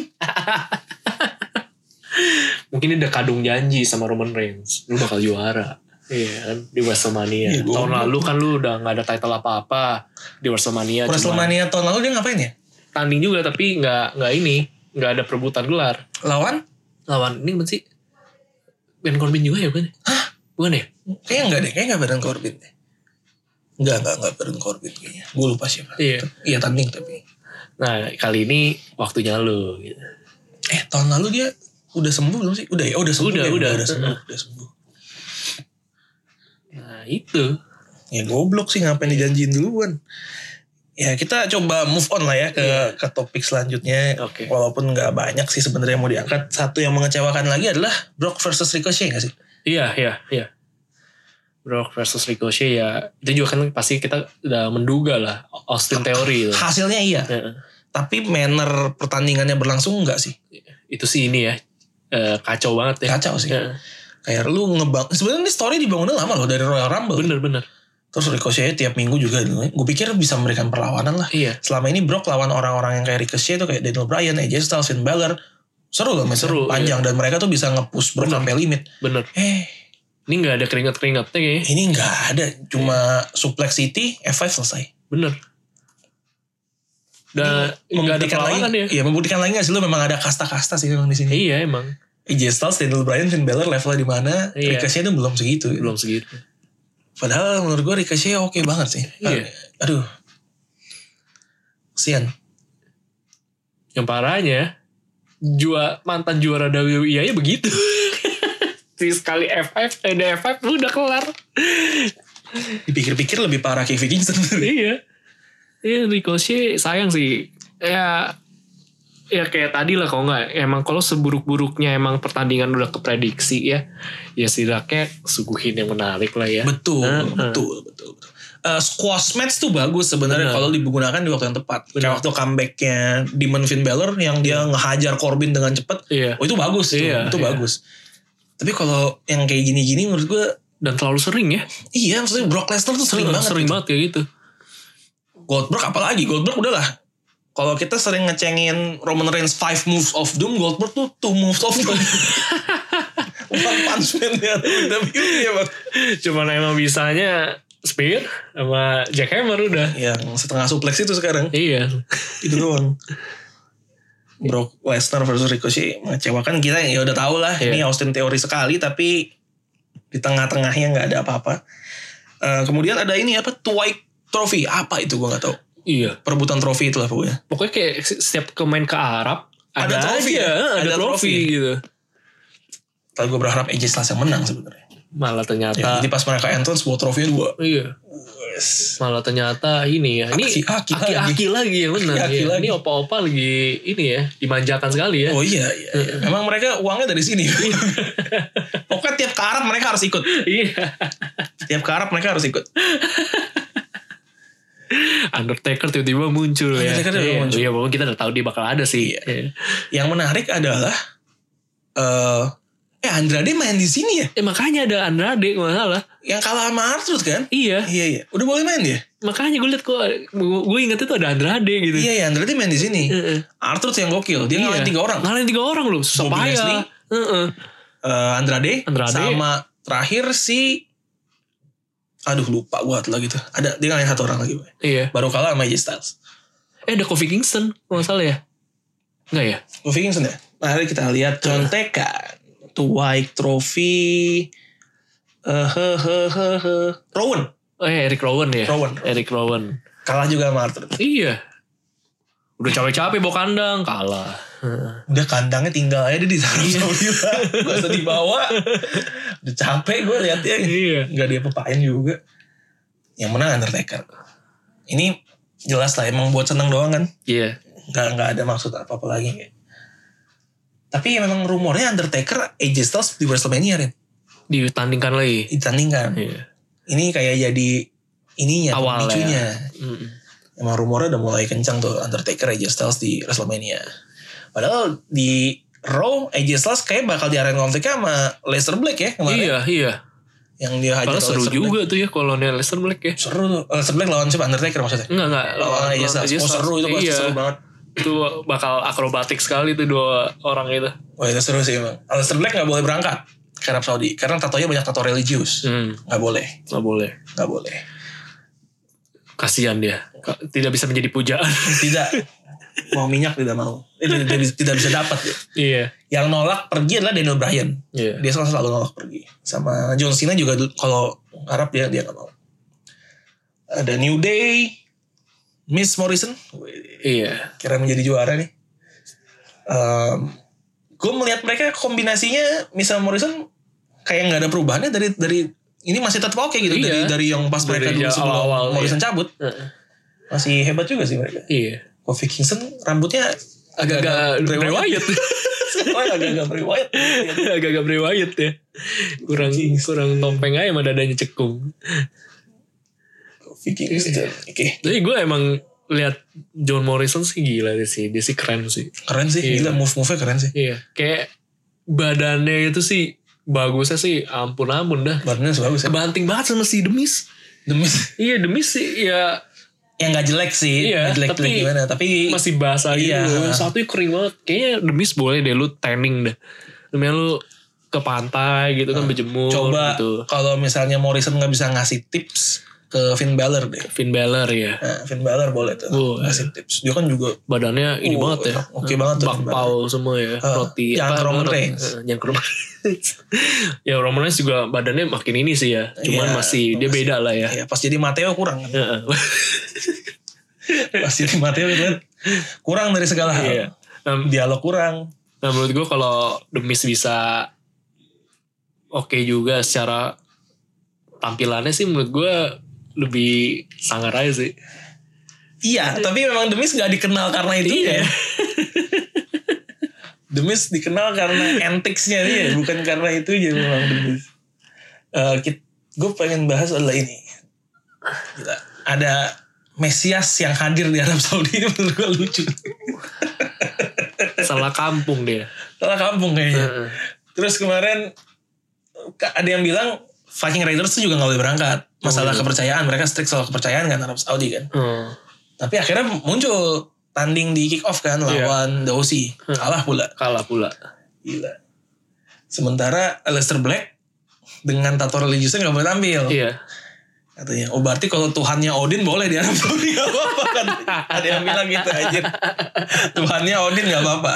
mungkin dia udah kadung janji sama Roman Reigns lu bakal juara iya kan di Wrestlemania Iya, gua- tahun lalu kan lu udah nggak ada title apa-apa di Wrestlemania cuma WrestleMania tahun lalu dia ngapain ya? tanding juga tapi nggak nggak ini nggak ada perebutan gelar Lawan? lawan ini apa sih Ben Corbin juga ya bukan Hah? bukan ya Kayaknya enggak deh, kayaknya enggak Baron Corbin deh. Enggak, enggak, enggak Baron Corbin kayaknya. Gue lupa siapa. Iya. Iya tanding tapi. nah kali ini waktunya lu gitu. Eh tahun lalu dia udah sembuh belum sih? Udah ya? Oh, udah sembuh. Udah, ya? udah. udah sembuh. Udah sembuh. nah itu Ya goblok sih ngapain Iya. dijanjiin duluan. Ya kita coba move on lah ya ke ke topik selanjutnya. Iya. Oke. Walaupun nggak banyak sih sebenarnya yang mau diangkat. Satu yang mengecewakan lagi adalah Brock versus Ricochet nggak sih? Iya, iya, iya. Brock versus Ricochet ya itu juga kan pasti kita udah menduga lah Austin Theory itu. Hasilnya iya. Heeh. Tapi manner pertandingannya berlangsung nggak sih? itu sih ini ya eh, kacau banget ya. Kacau sih. Heeh. Kayak lu ngebang. Sebenarnya ini story dibangunnya lama loh dari Royal Rumble. Bener bener. Terus Ricochet tiap minggu juga. Gue pikir bisa memberikan perlawanan lah. Iya. Selama ini Brock lawan orang-orang yang kayak Ricochet itu kayak Daniel Bryan, AJ Styles, Finn Balor. Seru lah matchnya. Seru, iya. Panjang. Dan mereka tuh bisa nge-push Brock sampai limit. Bener. Eh Ini nggak ada keringat keringatnya kayaknya. ini nggak ada. Cuma Suplex City, F5 selesai. Bener. Dan nggak ada Membuktikan lagi. perlawanan ya. Iya membuktikan lagi nggak sih lu memang ada kasta-kasta sih memang di sini. Iya emang AJ Styles, Daniel Bryan, Finn Balor levelnya di mana? Iya. Ricochet itu belum segitu. belum segitu. Padahal menurut gue Ricochet oke banget sih. Iya. Aduh. Sian. Yang parahnya jua mantan juara WWE aja begitu. si sekali F5 eh udah F5 udah kelar. Dipikir-pikir lebih parah Kofi Kingston. iya iya Ricochet sayang sih ya ya kayak tadi lah kalau nggak emang kalau seburuk-buruknya emang pertandingan udah keprediksi ya ya setidaknya suguhin yang menarik lah ya betul, Heeh. betul, betul, betul. Eh, squash match tuh bagus sebenarnya Benar. kalau digunakan di waktu yang tepat. Kayak waktu comebacknya Demon Finn Balor yang dia ngehajar Corbin dengan cepat. Iya. Oh itu bagus, tuh. Iya, itu iya. bagus. Tapi kalau yang kayak gini-gini menurut gue dan terlalu sering ya iya maksudnya Brock Lesnar tuh sering banget. sering gitu. banget kayak gitu Goldberg apalagi Goldberg udahlah kalau kita sering ngecengin Roman Reigns 5 moves of doom Goldberg tuh 2 moves of doom One punch man ya WWE ya bang cuman emang bisanya Spear sama Jackhammer udah yang setengah suplex itu sekarang iya itu doang Brock Lesnar versus Ricochet mengecewakan kita ya udah tau lah Iya. ini Austin teori sekali tapi di tengah-tengahnya nggak ada apa-apa Eh, kemudian ada ini apa Twike trofi apa itu gue nggak tahu. Iya. Perebutan trofi itulah pokoknya. Pokoknya kayak se- setiap ke main ke Arab ada, Ada trofi trofi, ya? ada, Ada trofi, trofi. gitu. Tapi gue berharap AJ Styles yang menang sebenarnya. Malah ternyata Ya, jadi pas mereka entrance bawa trofinya dua. iya. Malah ternyata ini ya. Ini Aki-aki lagi. aki-aki lagi ya benar. Aki-aki Iya, lagi. Ini opa-opa lagi ini ya dimanjakan sekali ya. Oh iya, iya, iya. Memang mereka uangnya dari sini. Pokoknya tiap ke Arab mereka harus ikut. Iya. Tiap ke Arab mereka harus ikut. Undertaker tiba-tiba muncul ya. Undertaker tiba-tiba Iya, muncul. Iya, pokoknya kita udah tahu dia bakal ada sih. Iya. Yang menarik adalah eh eh Andrade main di sini ya. Eh makanya ada Andrade nggak salah. Yang kalah sama Arthur kan? Iya. Iya iya. Udah boleh main dia. Makanya gue liat kok gue inget itu ada Andrade gitu. Iya iya Nah. Andrade main di sini. Heeh. Iya. Arthur tuh yang gokil. Dia ngalahin tiga orang. Ngalahin tiga orang loh. Susah Bobby Lashley. payah. Heeh. Eh, Andrade, Andrade. sama terakhir si aduh lupa gua lagi tuh. Ada dia ngalahin satu orang lagi. Boy. Iya. Baru kalah sama AJ Styles. Eh ada Kofi Kingston kalau nggak salah ya. Enggak ya? Kofi Kingston ya. Mari kita lihat contekan. Twike Trophy. Eh, he, he, he, he. Rowan. Eh Eric Rowan ya. Rowan. Eric Rowan. Kalah juga sama Arthur. Iya. Udah capek-capek bawa kandang kalah. Udah kandangnya tinggal aja dia ditaruh sama Lila. Gak usah dibawa. Udah capek gue liatnya. Iya. Gak dia pepain juga. Yang menang Undertaker. Ini jelas lah emang buat seneng doang kan. Iya. Gak, nggak ada maksud apa-apa lagi. Tapi memang rumornya Undertaker AJ Styles di WrestleMania Ren. Ditandingkan lagi. Ditandingkan. Iya. ini kayak jadi ininya Awal pemicunya. Mm. Emang rumornya udah mulai kencang tuh Undertaker AJ Styles di WrestleMania. Padahal di Raw AJ Styles kayak bakal diarahin konfliknya sama Leicester Black ya kemarin. Iya, iya. Yang dia hajar Kalau oleh seru Aleister Black. juga tuh ya kalau Nia Lester Black ya. Seru tuh. Leicester Black lawan siapa? Undertaker maksudnya. Enggak, enggak. Lawan AJ Styles. Oh seru itu pasti iya. seru banget. Itu bakal akrobatik sekali tuh dua orang itu. Wah itu seru sih emang. Leicester Black gak boleh berangkat ke Arab Saudi. Karena tatonya banyak tato religius. Hmm, Gak boleh. nggak boleh. Gak boleh. Kasihan dia. Ka- Tidak bisa menjadi pujaan. Tidak. mau minyak tidak mau. Eh, tidak, tidak bisa dapat dia. iya. yang nolak pergi adalah Daniel Bryan. Iya. Dia selalu selalu nolak pergi. Sama John Cena juga dulu- kalau Arab dia dia nggak mau. Ada New Day, Miss Morrison, Wih, Iya. kira menjadi juara nih. gue melihat mereka kombinasinya Miss sama Morrison kayak nggak ada perubahannya dari dari ini masih tetap oke gitu dari Iya. dari yang pas mereka dulu Dari yang iya. sebelum awal-awal, Morrison cabut Heeh. masih hebat juga sih mereka. Iya. Kofi Kingston rambutnya Agak-agak Bray Wyatt. riwayat. Sekarang agak-agak Bray Wyatt. Agak-agak Bray Wyatt ya. Kurang kurang topeng aja sama dadanya cekung. Kofi Kingston. Oke. Tapi gue emang lihat John Morrison sih gila sih. Dia sih keren sih. Keren sih, Iya. gila move-move-nya keren sih. Iya. Kayak badannya itu sih bagusnya sih ampun-ampun dah. Badannya bagus ya. Kebanting banget sama si Demis. Demis. Iya Demis sih ya Yang gak jelek sih, Iya, nggak jelek jelek tapi- gimana. Tapi masih basah gitu. Iya. Yang Satunya kering banget. Kayaknya Demis boleh deh lu tanning dah. Namanya lu ke pantai gitu kan berjemur coba gitu. kalau misalnya Morrison nggak bisa ngasih tips ke Finn Balor deh. Finn Balor ya. Nah, Finn Balor boleh tuh Boleh. ngasih tips. Dia kan juga Badannya ini Oh, banget ya. oke banget tuh Finn Bakpao semua ya. Ah, roti yang apa, Roman roti- Reigns. eh, Yang Roman Reigns. ya Roman Reigns juga badannya makin ini sih ya. Cuman Iya, masih dia masih- beda lah ya. ya pas jadi Mateo kurang. kan. Heeh. pas jadi Mateo gitu kan. Kurang dari segala hal. Iya. Nah, Dialog kurang. Nah menurut gue kalau Demis bisa oke juga secara tampilannya sih menurut gue lebih sangar aja sih. Iya, tapi memang Demis nggak dikenal karena itu Iya. ya. Demis dikenal karena anticsnya dia, bukan karena itu aja memang Demis. gue pengen bahas adalah ini. Gila, ada Mesias yang hadir di Arab Saudi ini menurut gue lucu. Salah kampung dia. Salah kampung kayaknya. Heeh. Terus kemarin ka- ada yang bilang Viking Raiders tuh juga nggak boleh berangkat. Masalah kepercayaan, mereka strict soal kepercayaan kan Arab Saudi kan. Hmm. Tapi akhirnya muncul tanding di kick off kan Iya. lawan The OC. Kalah pula. Kalah pula. Gila. Sementara Aleister Black dengan tato religiusnya gak boleh tampil. Iya. Katanya, oh berarti kalau Tuhannya Odin boleh di Arab Saudi gak apa-apa kan. Ada yang bilang gitu aja. Tuhannya Odin gak apa-apa.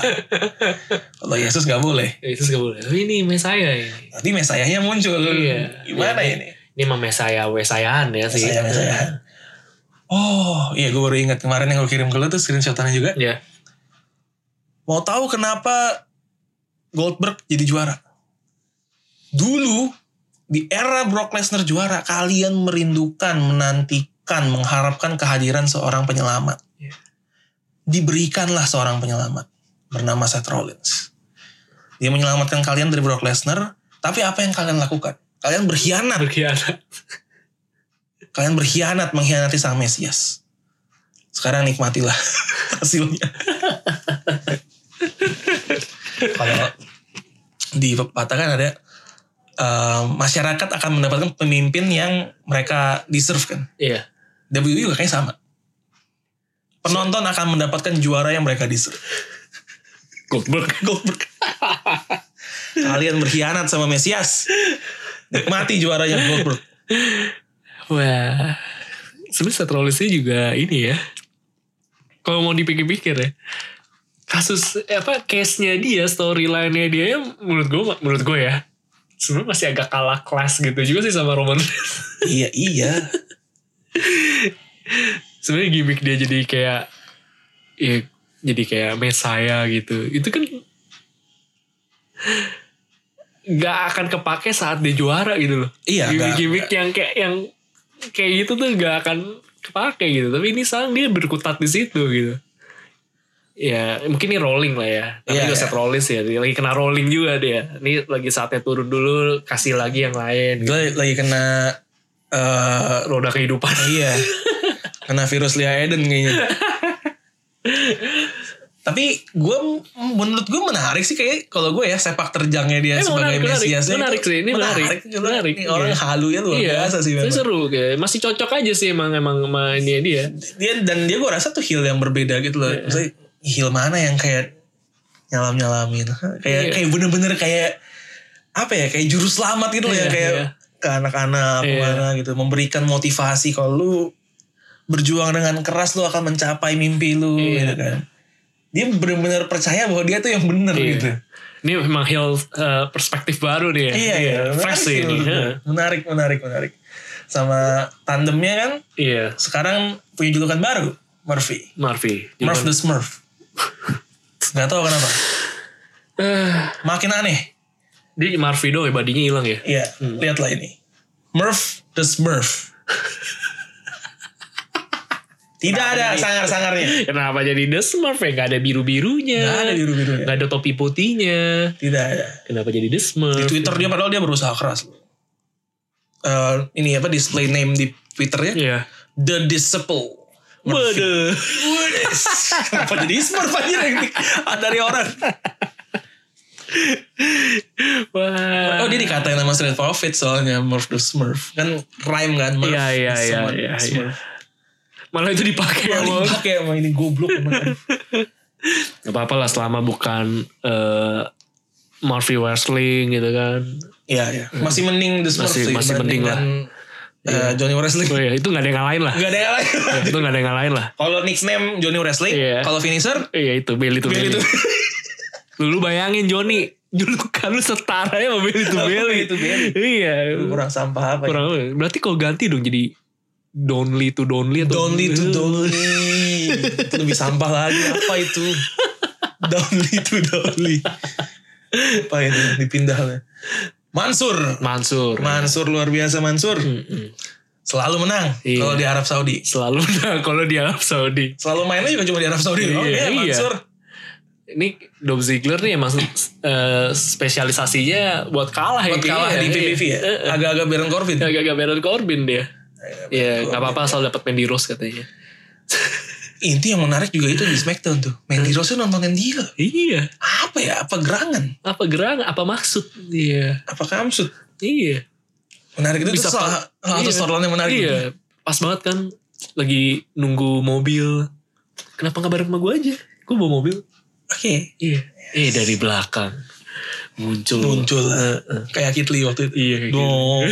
Kalau Yesus gak boleh. Itu gak boleh. Oh, ini mesaya ini. Nanti mesayahnya muncul. Iya. Gimana Iya, ini? Ini mah mesaya wesayaan ya sih. Mesayah-mesayahan. Oh iya gue baru ingat kemarin yang gue kirim ke lu tuh screenshotannya juga. Ya. Mau tahu kenapa Goldberg jadi juara? Dulu di era Brock Lesnar juara, kalian merindukan, menantikan, mengharapkan kehadiran seorang penyelamat. Diberikanlah seorang penyelamat bernama Seth Rollins. Dia menyelamatkan kalian dari Brock Lesnar, tapi apa yang kalian lakukan? Kalian berkhianat Berkhianat. kalian berkhianat mengkhianati sang Mesias. Sekarang nikmatilah hasilnya. Kalau di pepatah kan ada eh, masyarakat akan mendapatkan pemimpin yang mereka deserve kan. Iya. WWE juga kayaknya sama. Penonton akan mendapatkan juara yang mereka deserve. Goldberg. Goldberg. Kalian berkhianat sama Mesias. Nikmati juaranya Goldberg. Wah. Sebenarnya Seth Rollins ini juga ini ya. Kalau mau dipikir-pikir ya. Kasus eh, apa case-nya dia, storyline-nya dia ya menurut gue menurut gue ya. Sebenarnya masih agak kalah kelas gitu juga sih sama Roman. iya, iya. Sebenarnya gimmick dia jadi kayak ya jadi kayak Messiah gitu. Itu kan nggak akan kepake saat dia juara gitu loh. Iya, nggak- Gimmick-gimmick yang kayak yang kayak gitu tuh nggak akan kepake gitu. Tapi ini sekarang dia berkutat di situ gitu. Ya mungkin ini rolling lah ya. Tapi Iya, juga iya. set rolling sih ya. Dia lagi kena rolling juga dia. Ini lagi saatnya turun dulu. Kasih lagi yang lain. Gitu. Dia lagi kena eh Roda kehidupan. iya. kena virus Lia Eden kayaknya. Tapi gue menurut gue menarik sih kayak kalau gue ya sepak terjangnya dia Eh, sebagai menarik, menarik. mesiasnya. itu Menarik sih, ini menarik. Menarik, Menarik, Ini orang iya. halunya luar biasa sih. tapi memang. seru kayak masih cocok aja sih emang emang sama ini dia. Dia dan dia gue rasa tuh heel yang berbeda gitu Iya. loh. Maksudnya heel mana yang kayak nyalam nyalamin, kayak Iya. kayak bener-bener kayak apa ya kayak juru selamat gitu loh Iya, yang kayak iya. ke anak-anak Iya. kemana gitu memberikan motivasi kalau lu berjuang dengan keras lu akan mencapai mimpi lu Iya. gitu kan dia benar-benar percaya bahwa dia tuh yang benar Iya. gitu Ini memang heel eh, perspektif baru nih ya. iya iya menarik Fresh sih sih ini. Iya. menurut gua. Heeh. menarik menarik menarik sama tandemnya kan Iya, sekarang punya julukan baru Murphy Murphy. Murph the Smurf nggak tahu kenapa Eh, makin aneh dia Murphy doang ya badinya hilang ya. Iya, lihatlah ini. Murph the Smurf. Tidak ada sangar-sangarnya. Kenapa jadi The Smurf ya? Gak ada biru-birunya. Nggak ada biru-birunya. Gak ada topi putihnya. Tidak ada. Kenapa jadi The Smurf? Di Twitter dia padahal dia berusaha keras. Eh, ini apa display name di Twitternya? Iya. The Disciple. Waduh. Wudes. Kenapa jadi Smurf aja yang di- dari orang? Wah. Oh dia dikatain sama Street Profit soalnya Murph the Smurf. Kan rhyme kan Murph Iya, iya, the iya, Smurf, iya, Smurf. Malah itu dipakai Paling sama pakai emang ini goblok emang. Gak apa-apa lah selama bukan eh Murphy Wrestling gitu kan. Iya, iya. Masih mending The Smurfs Masih- sih masih mending lah. dibandingkan, eh, Johnny Wrestling. Oh iya, itu gak ada yang lain lah. Gak Ya, ada yang lain. itu gak ada yang lain lah. Kalau nickname Johnny Wrestling, Iya. kalau finisher Iya itu, Belly to Billy Belly. itu Lu bayangin Joni, julukan lu setara ya sama Belly to Sama Belly. Belly to Belly. Iya. kurang sampah apa ya? Kurang Berarti kalau ganti dong jadi Donly to Donly atau Donly to Donly. Itu lebih sampah lagi apa itu? Donly to Donly. Apa itu dipindahnya? Mansur. Mansur. Mansur luar biasa Mansur. Selalu menang Iya. kalau di Arab Saudi. Selalu nah, kalau di Arab Saudi. Selalu mainnya juga cuma di Arab Saudi. Iya, Oke, iya. Mansur. Ini Dom Ziggler nih emang eh, spesialisasinya buat kalah ya. Buat kalah kayaknya. di PPV ya. Iya. Eh, eh. Agak-agak Baron Corbin. Agak-agak Baron Corbin dia. Iya, nggak apa-apa asal dapat Mandy Rose katanya. Inti yang menarik juga itu di Smackdown tuh. Mandy Rose tuh nontonin dia. Iya. Apa ya? Apa gerangan? Apa gerang, apa maksud? Iya. Apa kamsut? Iya. Menarik itu Bisa tuh salah pa- salah satu iya. storyline yang menarik. Iya, pas banget kan lagi nunggu mobil. Kenapa nggak bareng sama gue aja? Gue bawa mobil. Oke. Iya. Eh dari belakang muncul. Muncul lah. Kayak Kitli waktu itu. Iya, kayak gitu. No.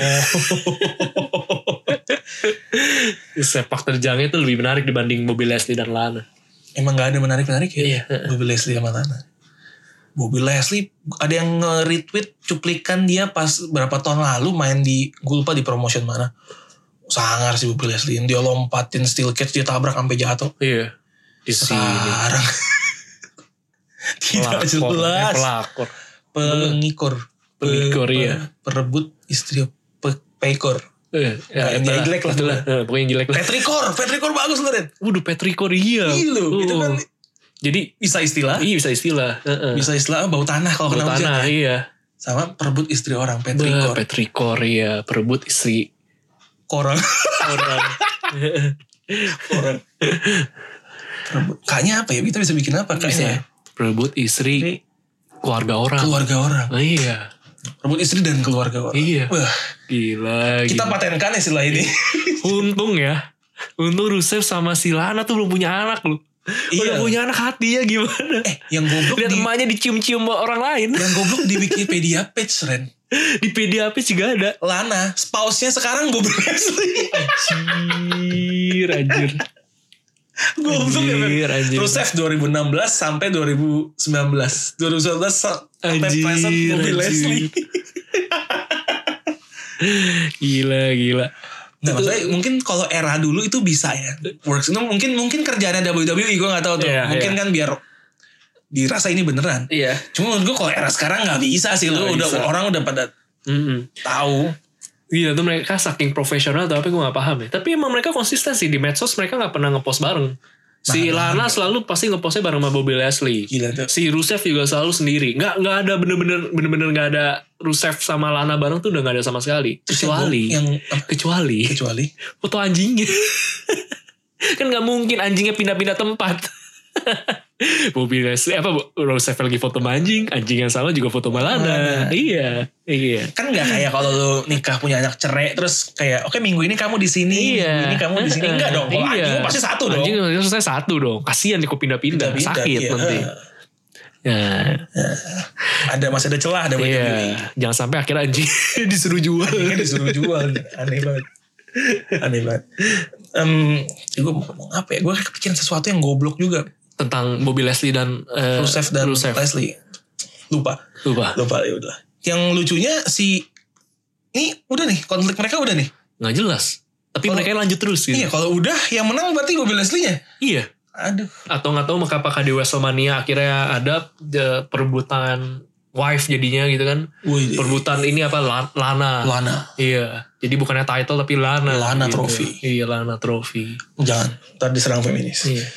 Sepak terjangnya itu lebih menarik dibanding mobil Leslie dan Lana. Emang gak ada menarik-menarik ya? Iya. Bobby Leslie sama Lana. Bobby Leslie ada yang nge-retweet cuplikan dia pas berapa tahun lalu main di gue lupa di promotion mana. sangar sih Bobby Leslie dia lompatin steel cage dia tabrak sampai jatuh Iya. Di Ah, sini. sekarang tidak Pelakor, eh, jelas pelakor. pengikor Pengikor, Pe- iya. perebut istri pe- pekor Eh, ya, Yang itulah, jelek lah. itulah. Eh, pokoknya yang jelek lah. petrikor petrikor bagus loh Waduh, Petrikor iya. Iya loh, itu Oh. kan- Jadi, bisa istilah iya bisa istilah. Heeh. bisa istilah bau tanah kalau Bau kena hujan ya? tanah, iya. sama perebut istri orang Bah, petrikor Petrikor iya. Perebut istri korang orang. orang Perebut- kayaknya apa ya kita bisa bikin apa kayaknya ya? Bisa. Perebut istri keluarga orang. keluarga orang Oh, iya. perebut istri dan keluarga orang Iya. Wah, Gila. kita gila. patenkan istilah ini Iya. Untung ya. Untung Rusev sama si Lana tuh belum punya anak loh. Udah Iya. punya anak hati ya gimana. eh yang goblok di, Lihat emaknya dicium-cium sama orang lain. yang goblok di Wikipedia page Ren Di PDAP juga ada. Lana, spouse-nya sekarang Bob Leslie. Anjir, anjir. Goblok ya, men. Anjir, anjir. Rusev 2016 sampai 2019. 2019 sa- sampai Anjir, present Bob anjir. Leslie. Gila, gila. Nah, maksudnya mungkin kalau era dulu itu bisa ya. Works. Itu mungkin mungkin kerjaannya WWE gue gak tahu tuh. Iya, mungkin iya. kan biar dirasa ini beneran. Iya. Cuma menurut gue kalau era sekarang nggak bisa sih. Lu Nggak udah bisa. orang udah pada Mm-mm. tahu. Gila tuh mereka saking profesional atau apa gue gak paham ya. Tapi emang mereka konsisten sih di medsos mereka gak pernah ngepost bareng. Si Lana selalu pasti ngepostnya bareng sama Bobby Leslie. Gila tuh. Si Rusev juga selalu sendiri. Nggak nggak ada bener-bener bener-bener nggak ada Rusev sama Lana bareng tuh udah nggak ada sama sekali. Kecuali Yang apa? kecuali kecuali foto anjingnya. kan nggak mungkin anjingnya pindah-pindah tempat. Bobby Leslie apa Bu- Rusev lagi foto sama anjing, anjing yang salah juga foto sama Lana. Iya, iya. kan nggak kayak kalau lu nikah punya anak cerai terus kayak oke minggu ini kamu di sini minggu ini kamu di sini enggak dong kalau anjing lu pasti satu dong Iya. Anjing maksudnya satu dong. Kasihan nih kok pindah-pindah. Pindah-pindah, Sakit iya. nanti. Ya, ada masih ada celah ada iya. banyak Jangan sampai akhirnya anjing disuruh jual. Ini disuruh jual aneh banget aneh banget Em, gue mau ngomong apa ya gue kepikiran sesuatu yang goblok juga Tentang Bobby Leslie dan eh, Rusev dan Rusev. Leslie lupa Lupa. lupa ya udah yang lucunya si ini udah nih konflik mereka udah nih Nggak jelas. Tapi Kalau- mereka lanjut terus gitu. Oh. iya kalau udah yang menang berarti Bobby Leslie nya Iya. aduh Atau nggak tahu maka apakah di Wrestlemania akhirnya ada eh, perebutan wife jadinya gitu kan. Wih, Perebutan ini apa La- Lana. Lana Iya. Jadi bukannya title tapi Lana. Lana Trophy. Iya Lana Trophy. Jangan, ntar diserang feminis. Iya.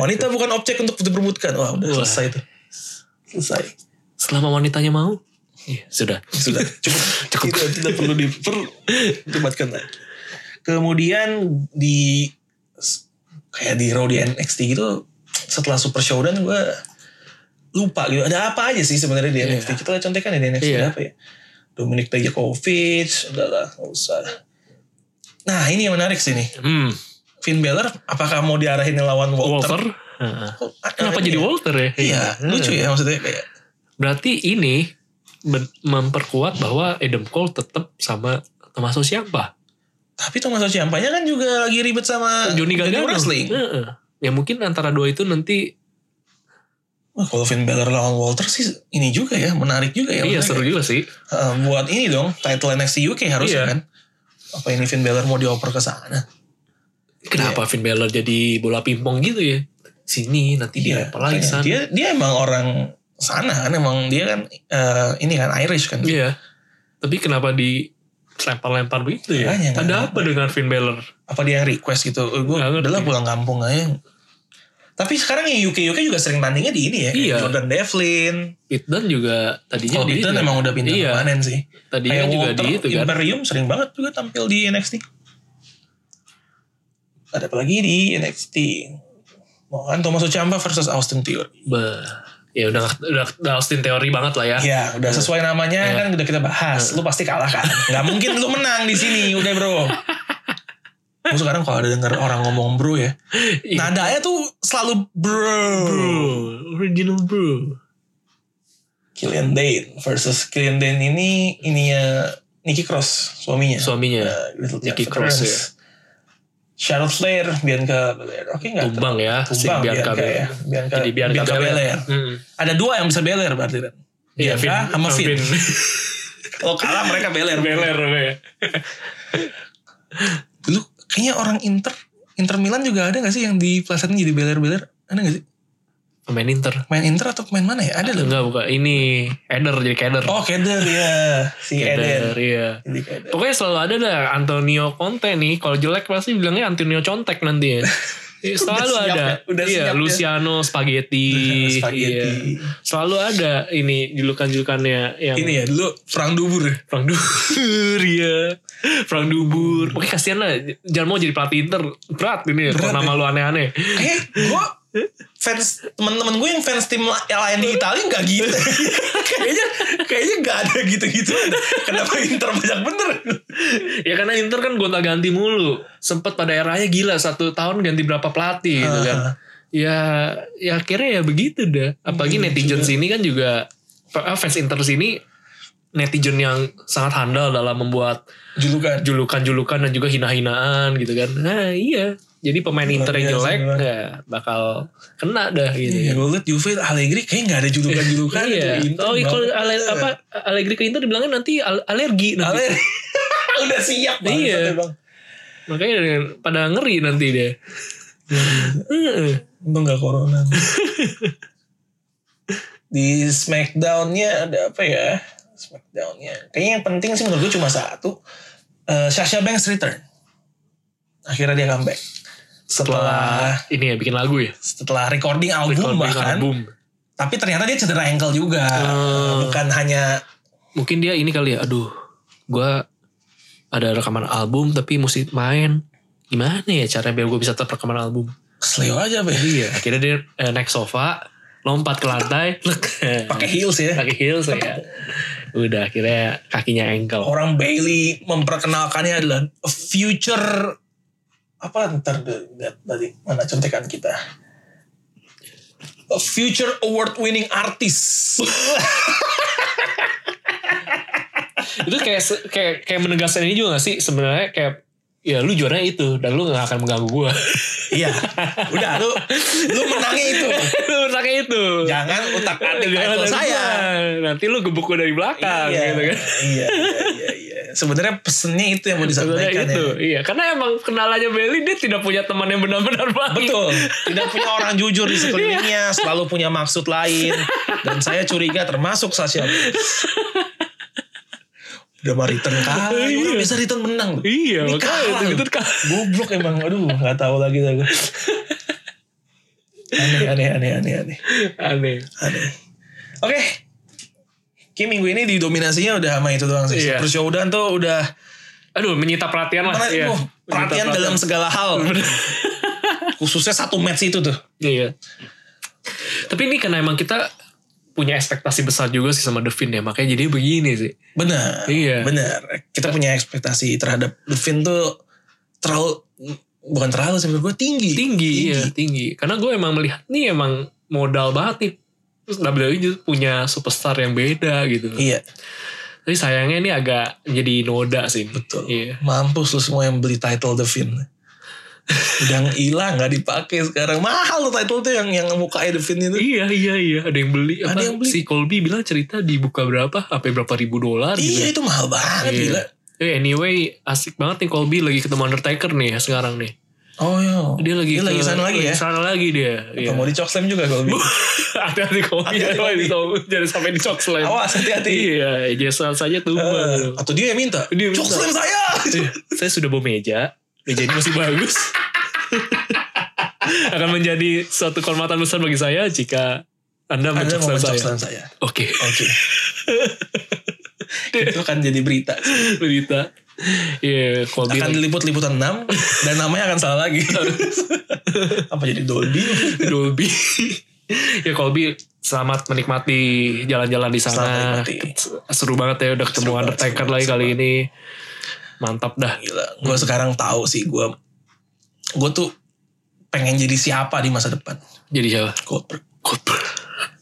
Wanita bukan objek untuk diperbutkan. Wah, udah Wah. selesai tuh. Selesai. Selama wanitanya mau. Iya, sudah. Sudah, cukup. cukup. Tidak, tidak perlu diperdebatkan lagi. Kemudian di kayak di Raw di NXT gitu setelah Super Showdown gue lupa gitu. Ada apa aja sih sebenarnya di NXT? Kita lihat contekan ya di NXT Iya. ada apa ya? Dominic Dijakovic, udahlah, nggak usah. Nah, ini yang menarik sih nih. Hmm. Finn Balor apakah mau diarahin lawan Walter? Walter. Heeh. Kok- Kenapa iya. jadi Walter ya? Iya, lucu ya maksudnya kayak Berarti ini ben- memperkuat bahwa Adam Cole tetap sama termasuk siapa? tapi Thomas Ciampanya kan juga lagi ribet sama Johnny Eh, Gargano. Wrestling. Heeh. Ya mungkin antara dua itu nanti Wah, kalau Finn Balor lawan Walter sih ini juga ya, menarik juga ya. Maksudnya iya seru kayak, juga sih. eh, buat ini dong, title NXT UK harusnya Iya. kan. Apa ini Finn Balor mau dioper ke sana? Kenapa Finn Balor jadi bola pingpong gitu ya? Sini nanti dia Iya, apa lagi Iya, makanya. sana. Dia dia emang orang sana kan, emang dia kan eh, ini kan Irish kan. Iya. Tapi kenapa di lempar-lempar begitu ya? Makanya, Ada nggak apa dengan Finn Balor? Apa dia yang request gitu? Eh, gue Nggak ngerti. udahlah pulang kampung aja. Tapi sekarang yang UK UK juga sering tandingnya di ini ya. kayak Iya. Jordan Devlin. Pitden juga tadinya Oh, Iya, di Dayton itu. emang udah pindah Iya. permanen sih. Tadinya juga di itu kan. Imperium sering banget juga tampil di NXT. Ada apa lagi di NXT? Mau kan Thomas Ciampa versus Austin Theory. Bah, ya udah udah, udah Austin teori banget lah ya. Ya, udah sesuai namanya Iya. kan udah kita bahas. Lu pasti kalah kan. Gak mungkin lu menang di sini, udah bro. Gue sekarang kalau ada denger orang ngomong bro ya, Iya. nadanya tuh selalu bro. Bro, original bro. Killian Dane versus Killian Dane ini ininya Nikki Cross suaminya. Suaminya. Uh, Little Nikki Nikki Cross, Cross ya. Charlotte Flair, Bianca Belair. Oke nggak? Tumbang ya, si Tumbang Bianca, Bianca Belair. ya. Bianca, Jadi Bianca Belair. ya? Mm. Ada dua yang bisa Belair berarti kan? Iya, Bianca sama Oh, Finn. Finn. Kalau kalah mereka Belair. Beler. Dulu kayaknya orang Inter, Inter Milan juga ada gak sih yang di plasetnya jadi beler-beler? Ada gak sih? Pemain Inter. Main Inter atau pemain mana ya? Ada loh. Enggak bukan ini Eder jadi Keder. Oh, Keder ya. Si Keder, Eder. iya. Jadi Keder. Pokoknya selalu ada dah Antonio Conte nih. Kalau jelek pasti bilangnya Antonio Contek nanti ya. Iya, selalu siap ada. ya, udah iya, siap ya. Luciano Spaghetti. Spaghetti. Iya. Selalu ada ini julukan-julukannya yang Ini ya dulu perang dubur ya. Frank Dubur ya. Frank Dubur. Oke kasihan lah. Jangan mau jadi pelatih Inter. Berat ini ya. Berat Kalau nama lu aneh-aneh. Kayaknya gue Eh, fans teman-teman gue yang fans tim la- yang lain di Italia nggak gitu. kayaknya kayaknya nggak ada gitu-gitu. Kenapa Inter banyak bener? ya karena Inter kan gonta ganti mulu. Sempet pada eranya gila. Satu tahun ganti berapa pelatih gitu kan. Ah. Ya, ya akhirnya ya begitu dah. Apalagi Hmm, iya. netizen sini kan juga. ah, Fans Inter sini netizen yang sangat handal dalam membuat Julukan. julukan-julukan dan juga hina-hinaan gitu kan. Nah iya. Jadi pemain Inter biasa, yang jelek luar. ya, bakal kena dah gitu. Iya, gue liat Juve Allegri kayaknya nggak ada julukan-julukan iya. Gitu kan, itu. Inter Oh, iya, kalau banget. ale, apa Allegri ke Inter dibilangnya nanti al- alergi nanti. Allegri. udah siap banget Iya. iya. bang. Makanya dengan- pada ngeri nanti dia. Heeh. Untung gak corona. di Smackdown-nya ada apa ya? Smackdown-nya. Kayaknya yang penting sih menurut gue cuma satu. Eh, Sasha Banks return. Akhirnya dia comeback. Setelah Setelah ini ya bikin lagu ya. setelah recording album Recording bahkan. album. Eh. Tapi ternyata dia cedera ankle juga. Bukan hanya Mungkin dia ini kali ya. Aduh, gua ada rekaman album tapi mesti main. Gimana ya caranya biar gue bisa tetap rekaman album? Sleo aja be. Iya. Akhirnya dia eh, naik sofa, lompat ke lantai, Pakai heels ya. pakai heels ya. Udah akhirnya kakinya engkel. Orang Bailey memperkenalkannya adalah a future apa ntar deh, lihat tadi mana contekan kita a future award winning artist itu kayak se- kayak kayak menegaskan ini juga gak sih sebenarnya kayak ya lu juaranya itu dan lu gak akan mengganggu gua iya udah lu lu menangnya itu lu pakai itu jangan utak atik Jangan title dari saya gua. nanti lu gebuk gua dari belakang iya, gitu kan iya iya iya sebenarnya pesennya itu yang mau Sebenarnya disampaikan itu ya iya karena emang kenalannya Belly dia tidak punya teman yang benar-benar baik Betul. Tidak punya orang jujur di Iya. sekelilingnya, selalu punya maksud lain. Dan saya curiga termasuk Sasha. Banks. Udah mah return kalah, orang bisa return menang. loh. Iya, Ini makanya kalah. itu- Itu, itu kalah. Goblok emang, aduh nggak tahu lagi dah gue. Aneh, aneh, aneh, aneh, aneh. aneh aneh. Oke. Kayak minggu ini didominasinya udah sama itu doang sih. Iya. Terus Yodan tuh udah aduh menyita perhatian lah mana, iya. oh, perhatian Menyita dalam segala hal. Khususnya satu match itu tuh. Iya. Tapi ini karena emang kita punya ekspektasi besar juga sih sama Devin ya makanya jadi begini sih. Benar. Iya. Benar. Kita punya ekspektasi terhadap Devin tuh terlalu bukan terlalu sih menurut gue tinggi. tinggi, iya tinggi karena gue emang melihat nih emang modal banget nih terus WWE juga punya superstar yang beda gitu Iya, tapi sayangnya ini agak jadi noda sih betul. iya Mampus lu semua yang beli title Devin. Udah hilang nggak dipakai sekarang. Mahal tuh title tuh yang yang mukanya Devin itu. iya iya iya ada yang Ada beli apa yang beli. si Colby bilang cerita dibuka berapa sampai berapa ribu dolar Iya, gitu itu mahal banget Iya. gila. Eh, anyway asik banget nih Colby lagi ketemu Undertaker nih ya sekarang nih Oh iya. dia lagi dia ke- lagi sana lagi ya. sana lagi dia iya. Atau mau di chokeslam juga kalau gitu? bisa. hati-hati Colby Hati-hati, jangan Colby. sampai- jangan sampai di slam Awas hati-hati. iya jasa saja tuh Eh, Atau dia yang minta. Dia minta. Chokeslam saya. Iya, saya sudah bawa meja. Meja ini masih bagus. Akan menjadi suatu kehormatan besar bagi saya jika Anda Anda mau chokeslam mencoksan saya. saya. Oke, Oke. itu kan jadi berita. berita. Iya, Colby akan lagi- diliput liputan 6 dan namanya akan salah lagi. Apa jadi Dolby? Dolby. ya Colby selamat menikmati jalan-jalan di sana. Selamat menikmati. Seru banget ya udah ketemu banget, Undertaker seru lagi banget, kali ini. Mantap dah. Gila, gue Hmm. sekarang tahu sih gue gue tuh pengen jadi siapa di masa depan. Jadi siapa? Goldberg, Goldberg.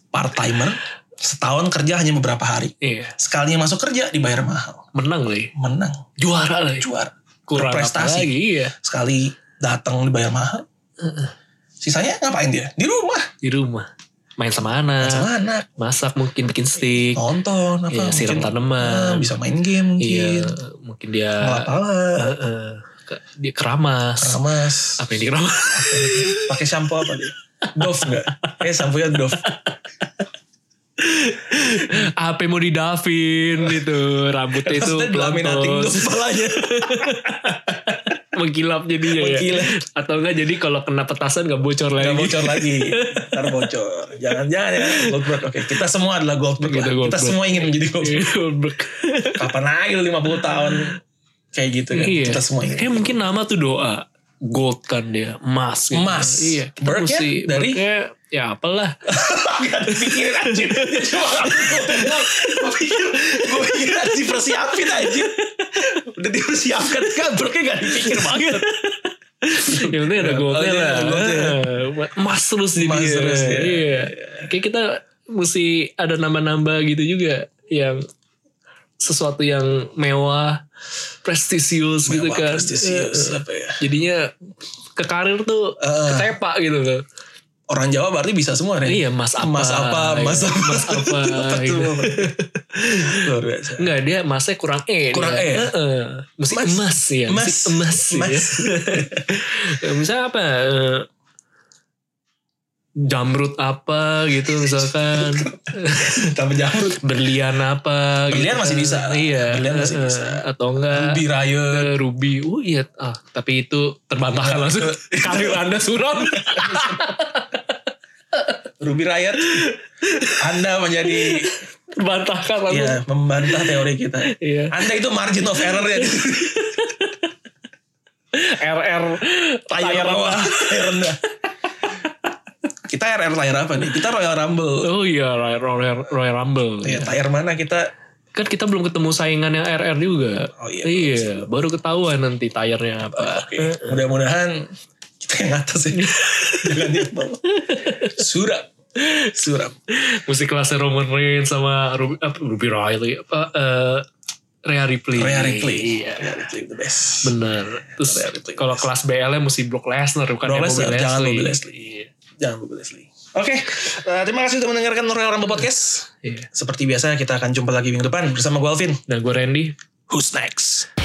part timer, setahun kerja hanya beberapa hari. Iya, Sekalinya masuk kerja dibayar mahal, menang lagi. menang, Juara lagi. juara, Kurang apa prestasi. lagi, iya. Sekali datang dibayar mahal. Sisanya ngapain dia? Di rumah, Di rumah. Main sama anak. sama anak, masak mungkin bikin Iya. steak nonton apa Iya, siram mungkin. tanaman. Ah, bisa main game mungkin. iya mungkin dia Malah-malah. Heeh. ke- dia keramas. Keramas. Apa yang dikeramas? Pakai shampoo apa dia? Dove enggak? Eh, shampoo nya Dove. apa yang mau didafin gitu rambutnya itu Maksudnya dilaminating pelontos. Dove kepalanya. mengkilap jadinya ya Mengkilap. atau enggak jadi kalau kena petasan nggak bocor lagi Gak bocor lagi. Ntar bocor. Jangan-jangan ya. Goldberg. Oke, kita semua adalah Goldberg lah. Kita Kita Goldberg. semua ingin menjadi Goldberg. Goldberg. Kapan aja lu 50 tahun. Kayak gitu kan. iya Kita semua ingin. kayak mungkin nama tuh doa gold kan dia emas gitu. Emas. iya kita Berg ya? mesti Dari? Bergnya, ya apalah Gak dipikirin anjir. Dia Cuma gue pikir, gue pikir harus dipersiapin anjir. Udah dipersiapkan. Goldbergnya gak dipikir banget. yang Ya, penting ada Oh, goldnya iya, lah ada goldnya. Ah, emas terus jadi Emas terus, ya. iya kayak kita mesti ada nambah-nambah gitu juga yang sesuatu yang mewah prestisius Wah, gitu kan prestisius, apa ya. jadinya ke karir tuh Ah. ketepak gitu loh. Orang Jawa berarti bisa semua Ren. Iya, mas apa? Mas apa, mas Iya, apa. mas apa, Betul, gitu. Luar biasa. Enggak dia emasnya kurang E. Kurang dia. E. Heeh. Mesti Emas. emas ya. Mesti emas. Mas. Ya. misalnya apa? eh, jamrut apa gitu misalkan. Tambah jamrut. Berlian apa gitu Berlian masih bisa. Iya. Berlian masih heeh. bisa. Atau enggak. Ruby Riot. Eh, Ruby, oh iya, ah, tapi itu terbantahkan langsung. Karir Anda suram. Ruby Riot. Anda menjadi terbantahkan langsung. ya membantah teori kita. Iya. Anda itu margin of error ya. RR Layar bawah. Layar rendah. Kita RR layar apa nih? Kita Royal Rumble. Oh iya Royal, Royal, Royal Rumble. Ya, layar mana kita? Kan kita belum ketemu saingan yang RR juga. Oh iya, baru ketahuan nanti tayarnya apa. Oke. Mudah-mudahan kita yang atas ya. Jangan yang bawah. Suram. Suram. Musik kelasnya Roman Reigns sama Ruby, apa, Ruby Riley apa eh Rhea Ripley. Rhea Ripley. Iya. Rhea Ripley the best. Bener. Terus Rhea Ripley. kalau kelas BL-nya mesti Brock Lesnar bukan Brock ya, Lesnar, jangan Bobby Lashley. Iya. Jangan lupa Leslie. Oke, eh, terima kasih sudah mendengarkan Royal Rumble Podcast. Iya. Seperti biasa kita akan jumpa lagi minggu depan bersama gue Alvin. Dan gue Randy. Who's next?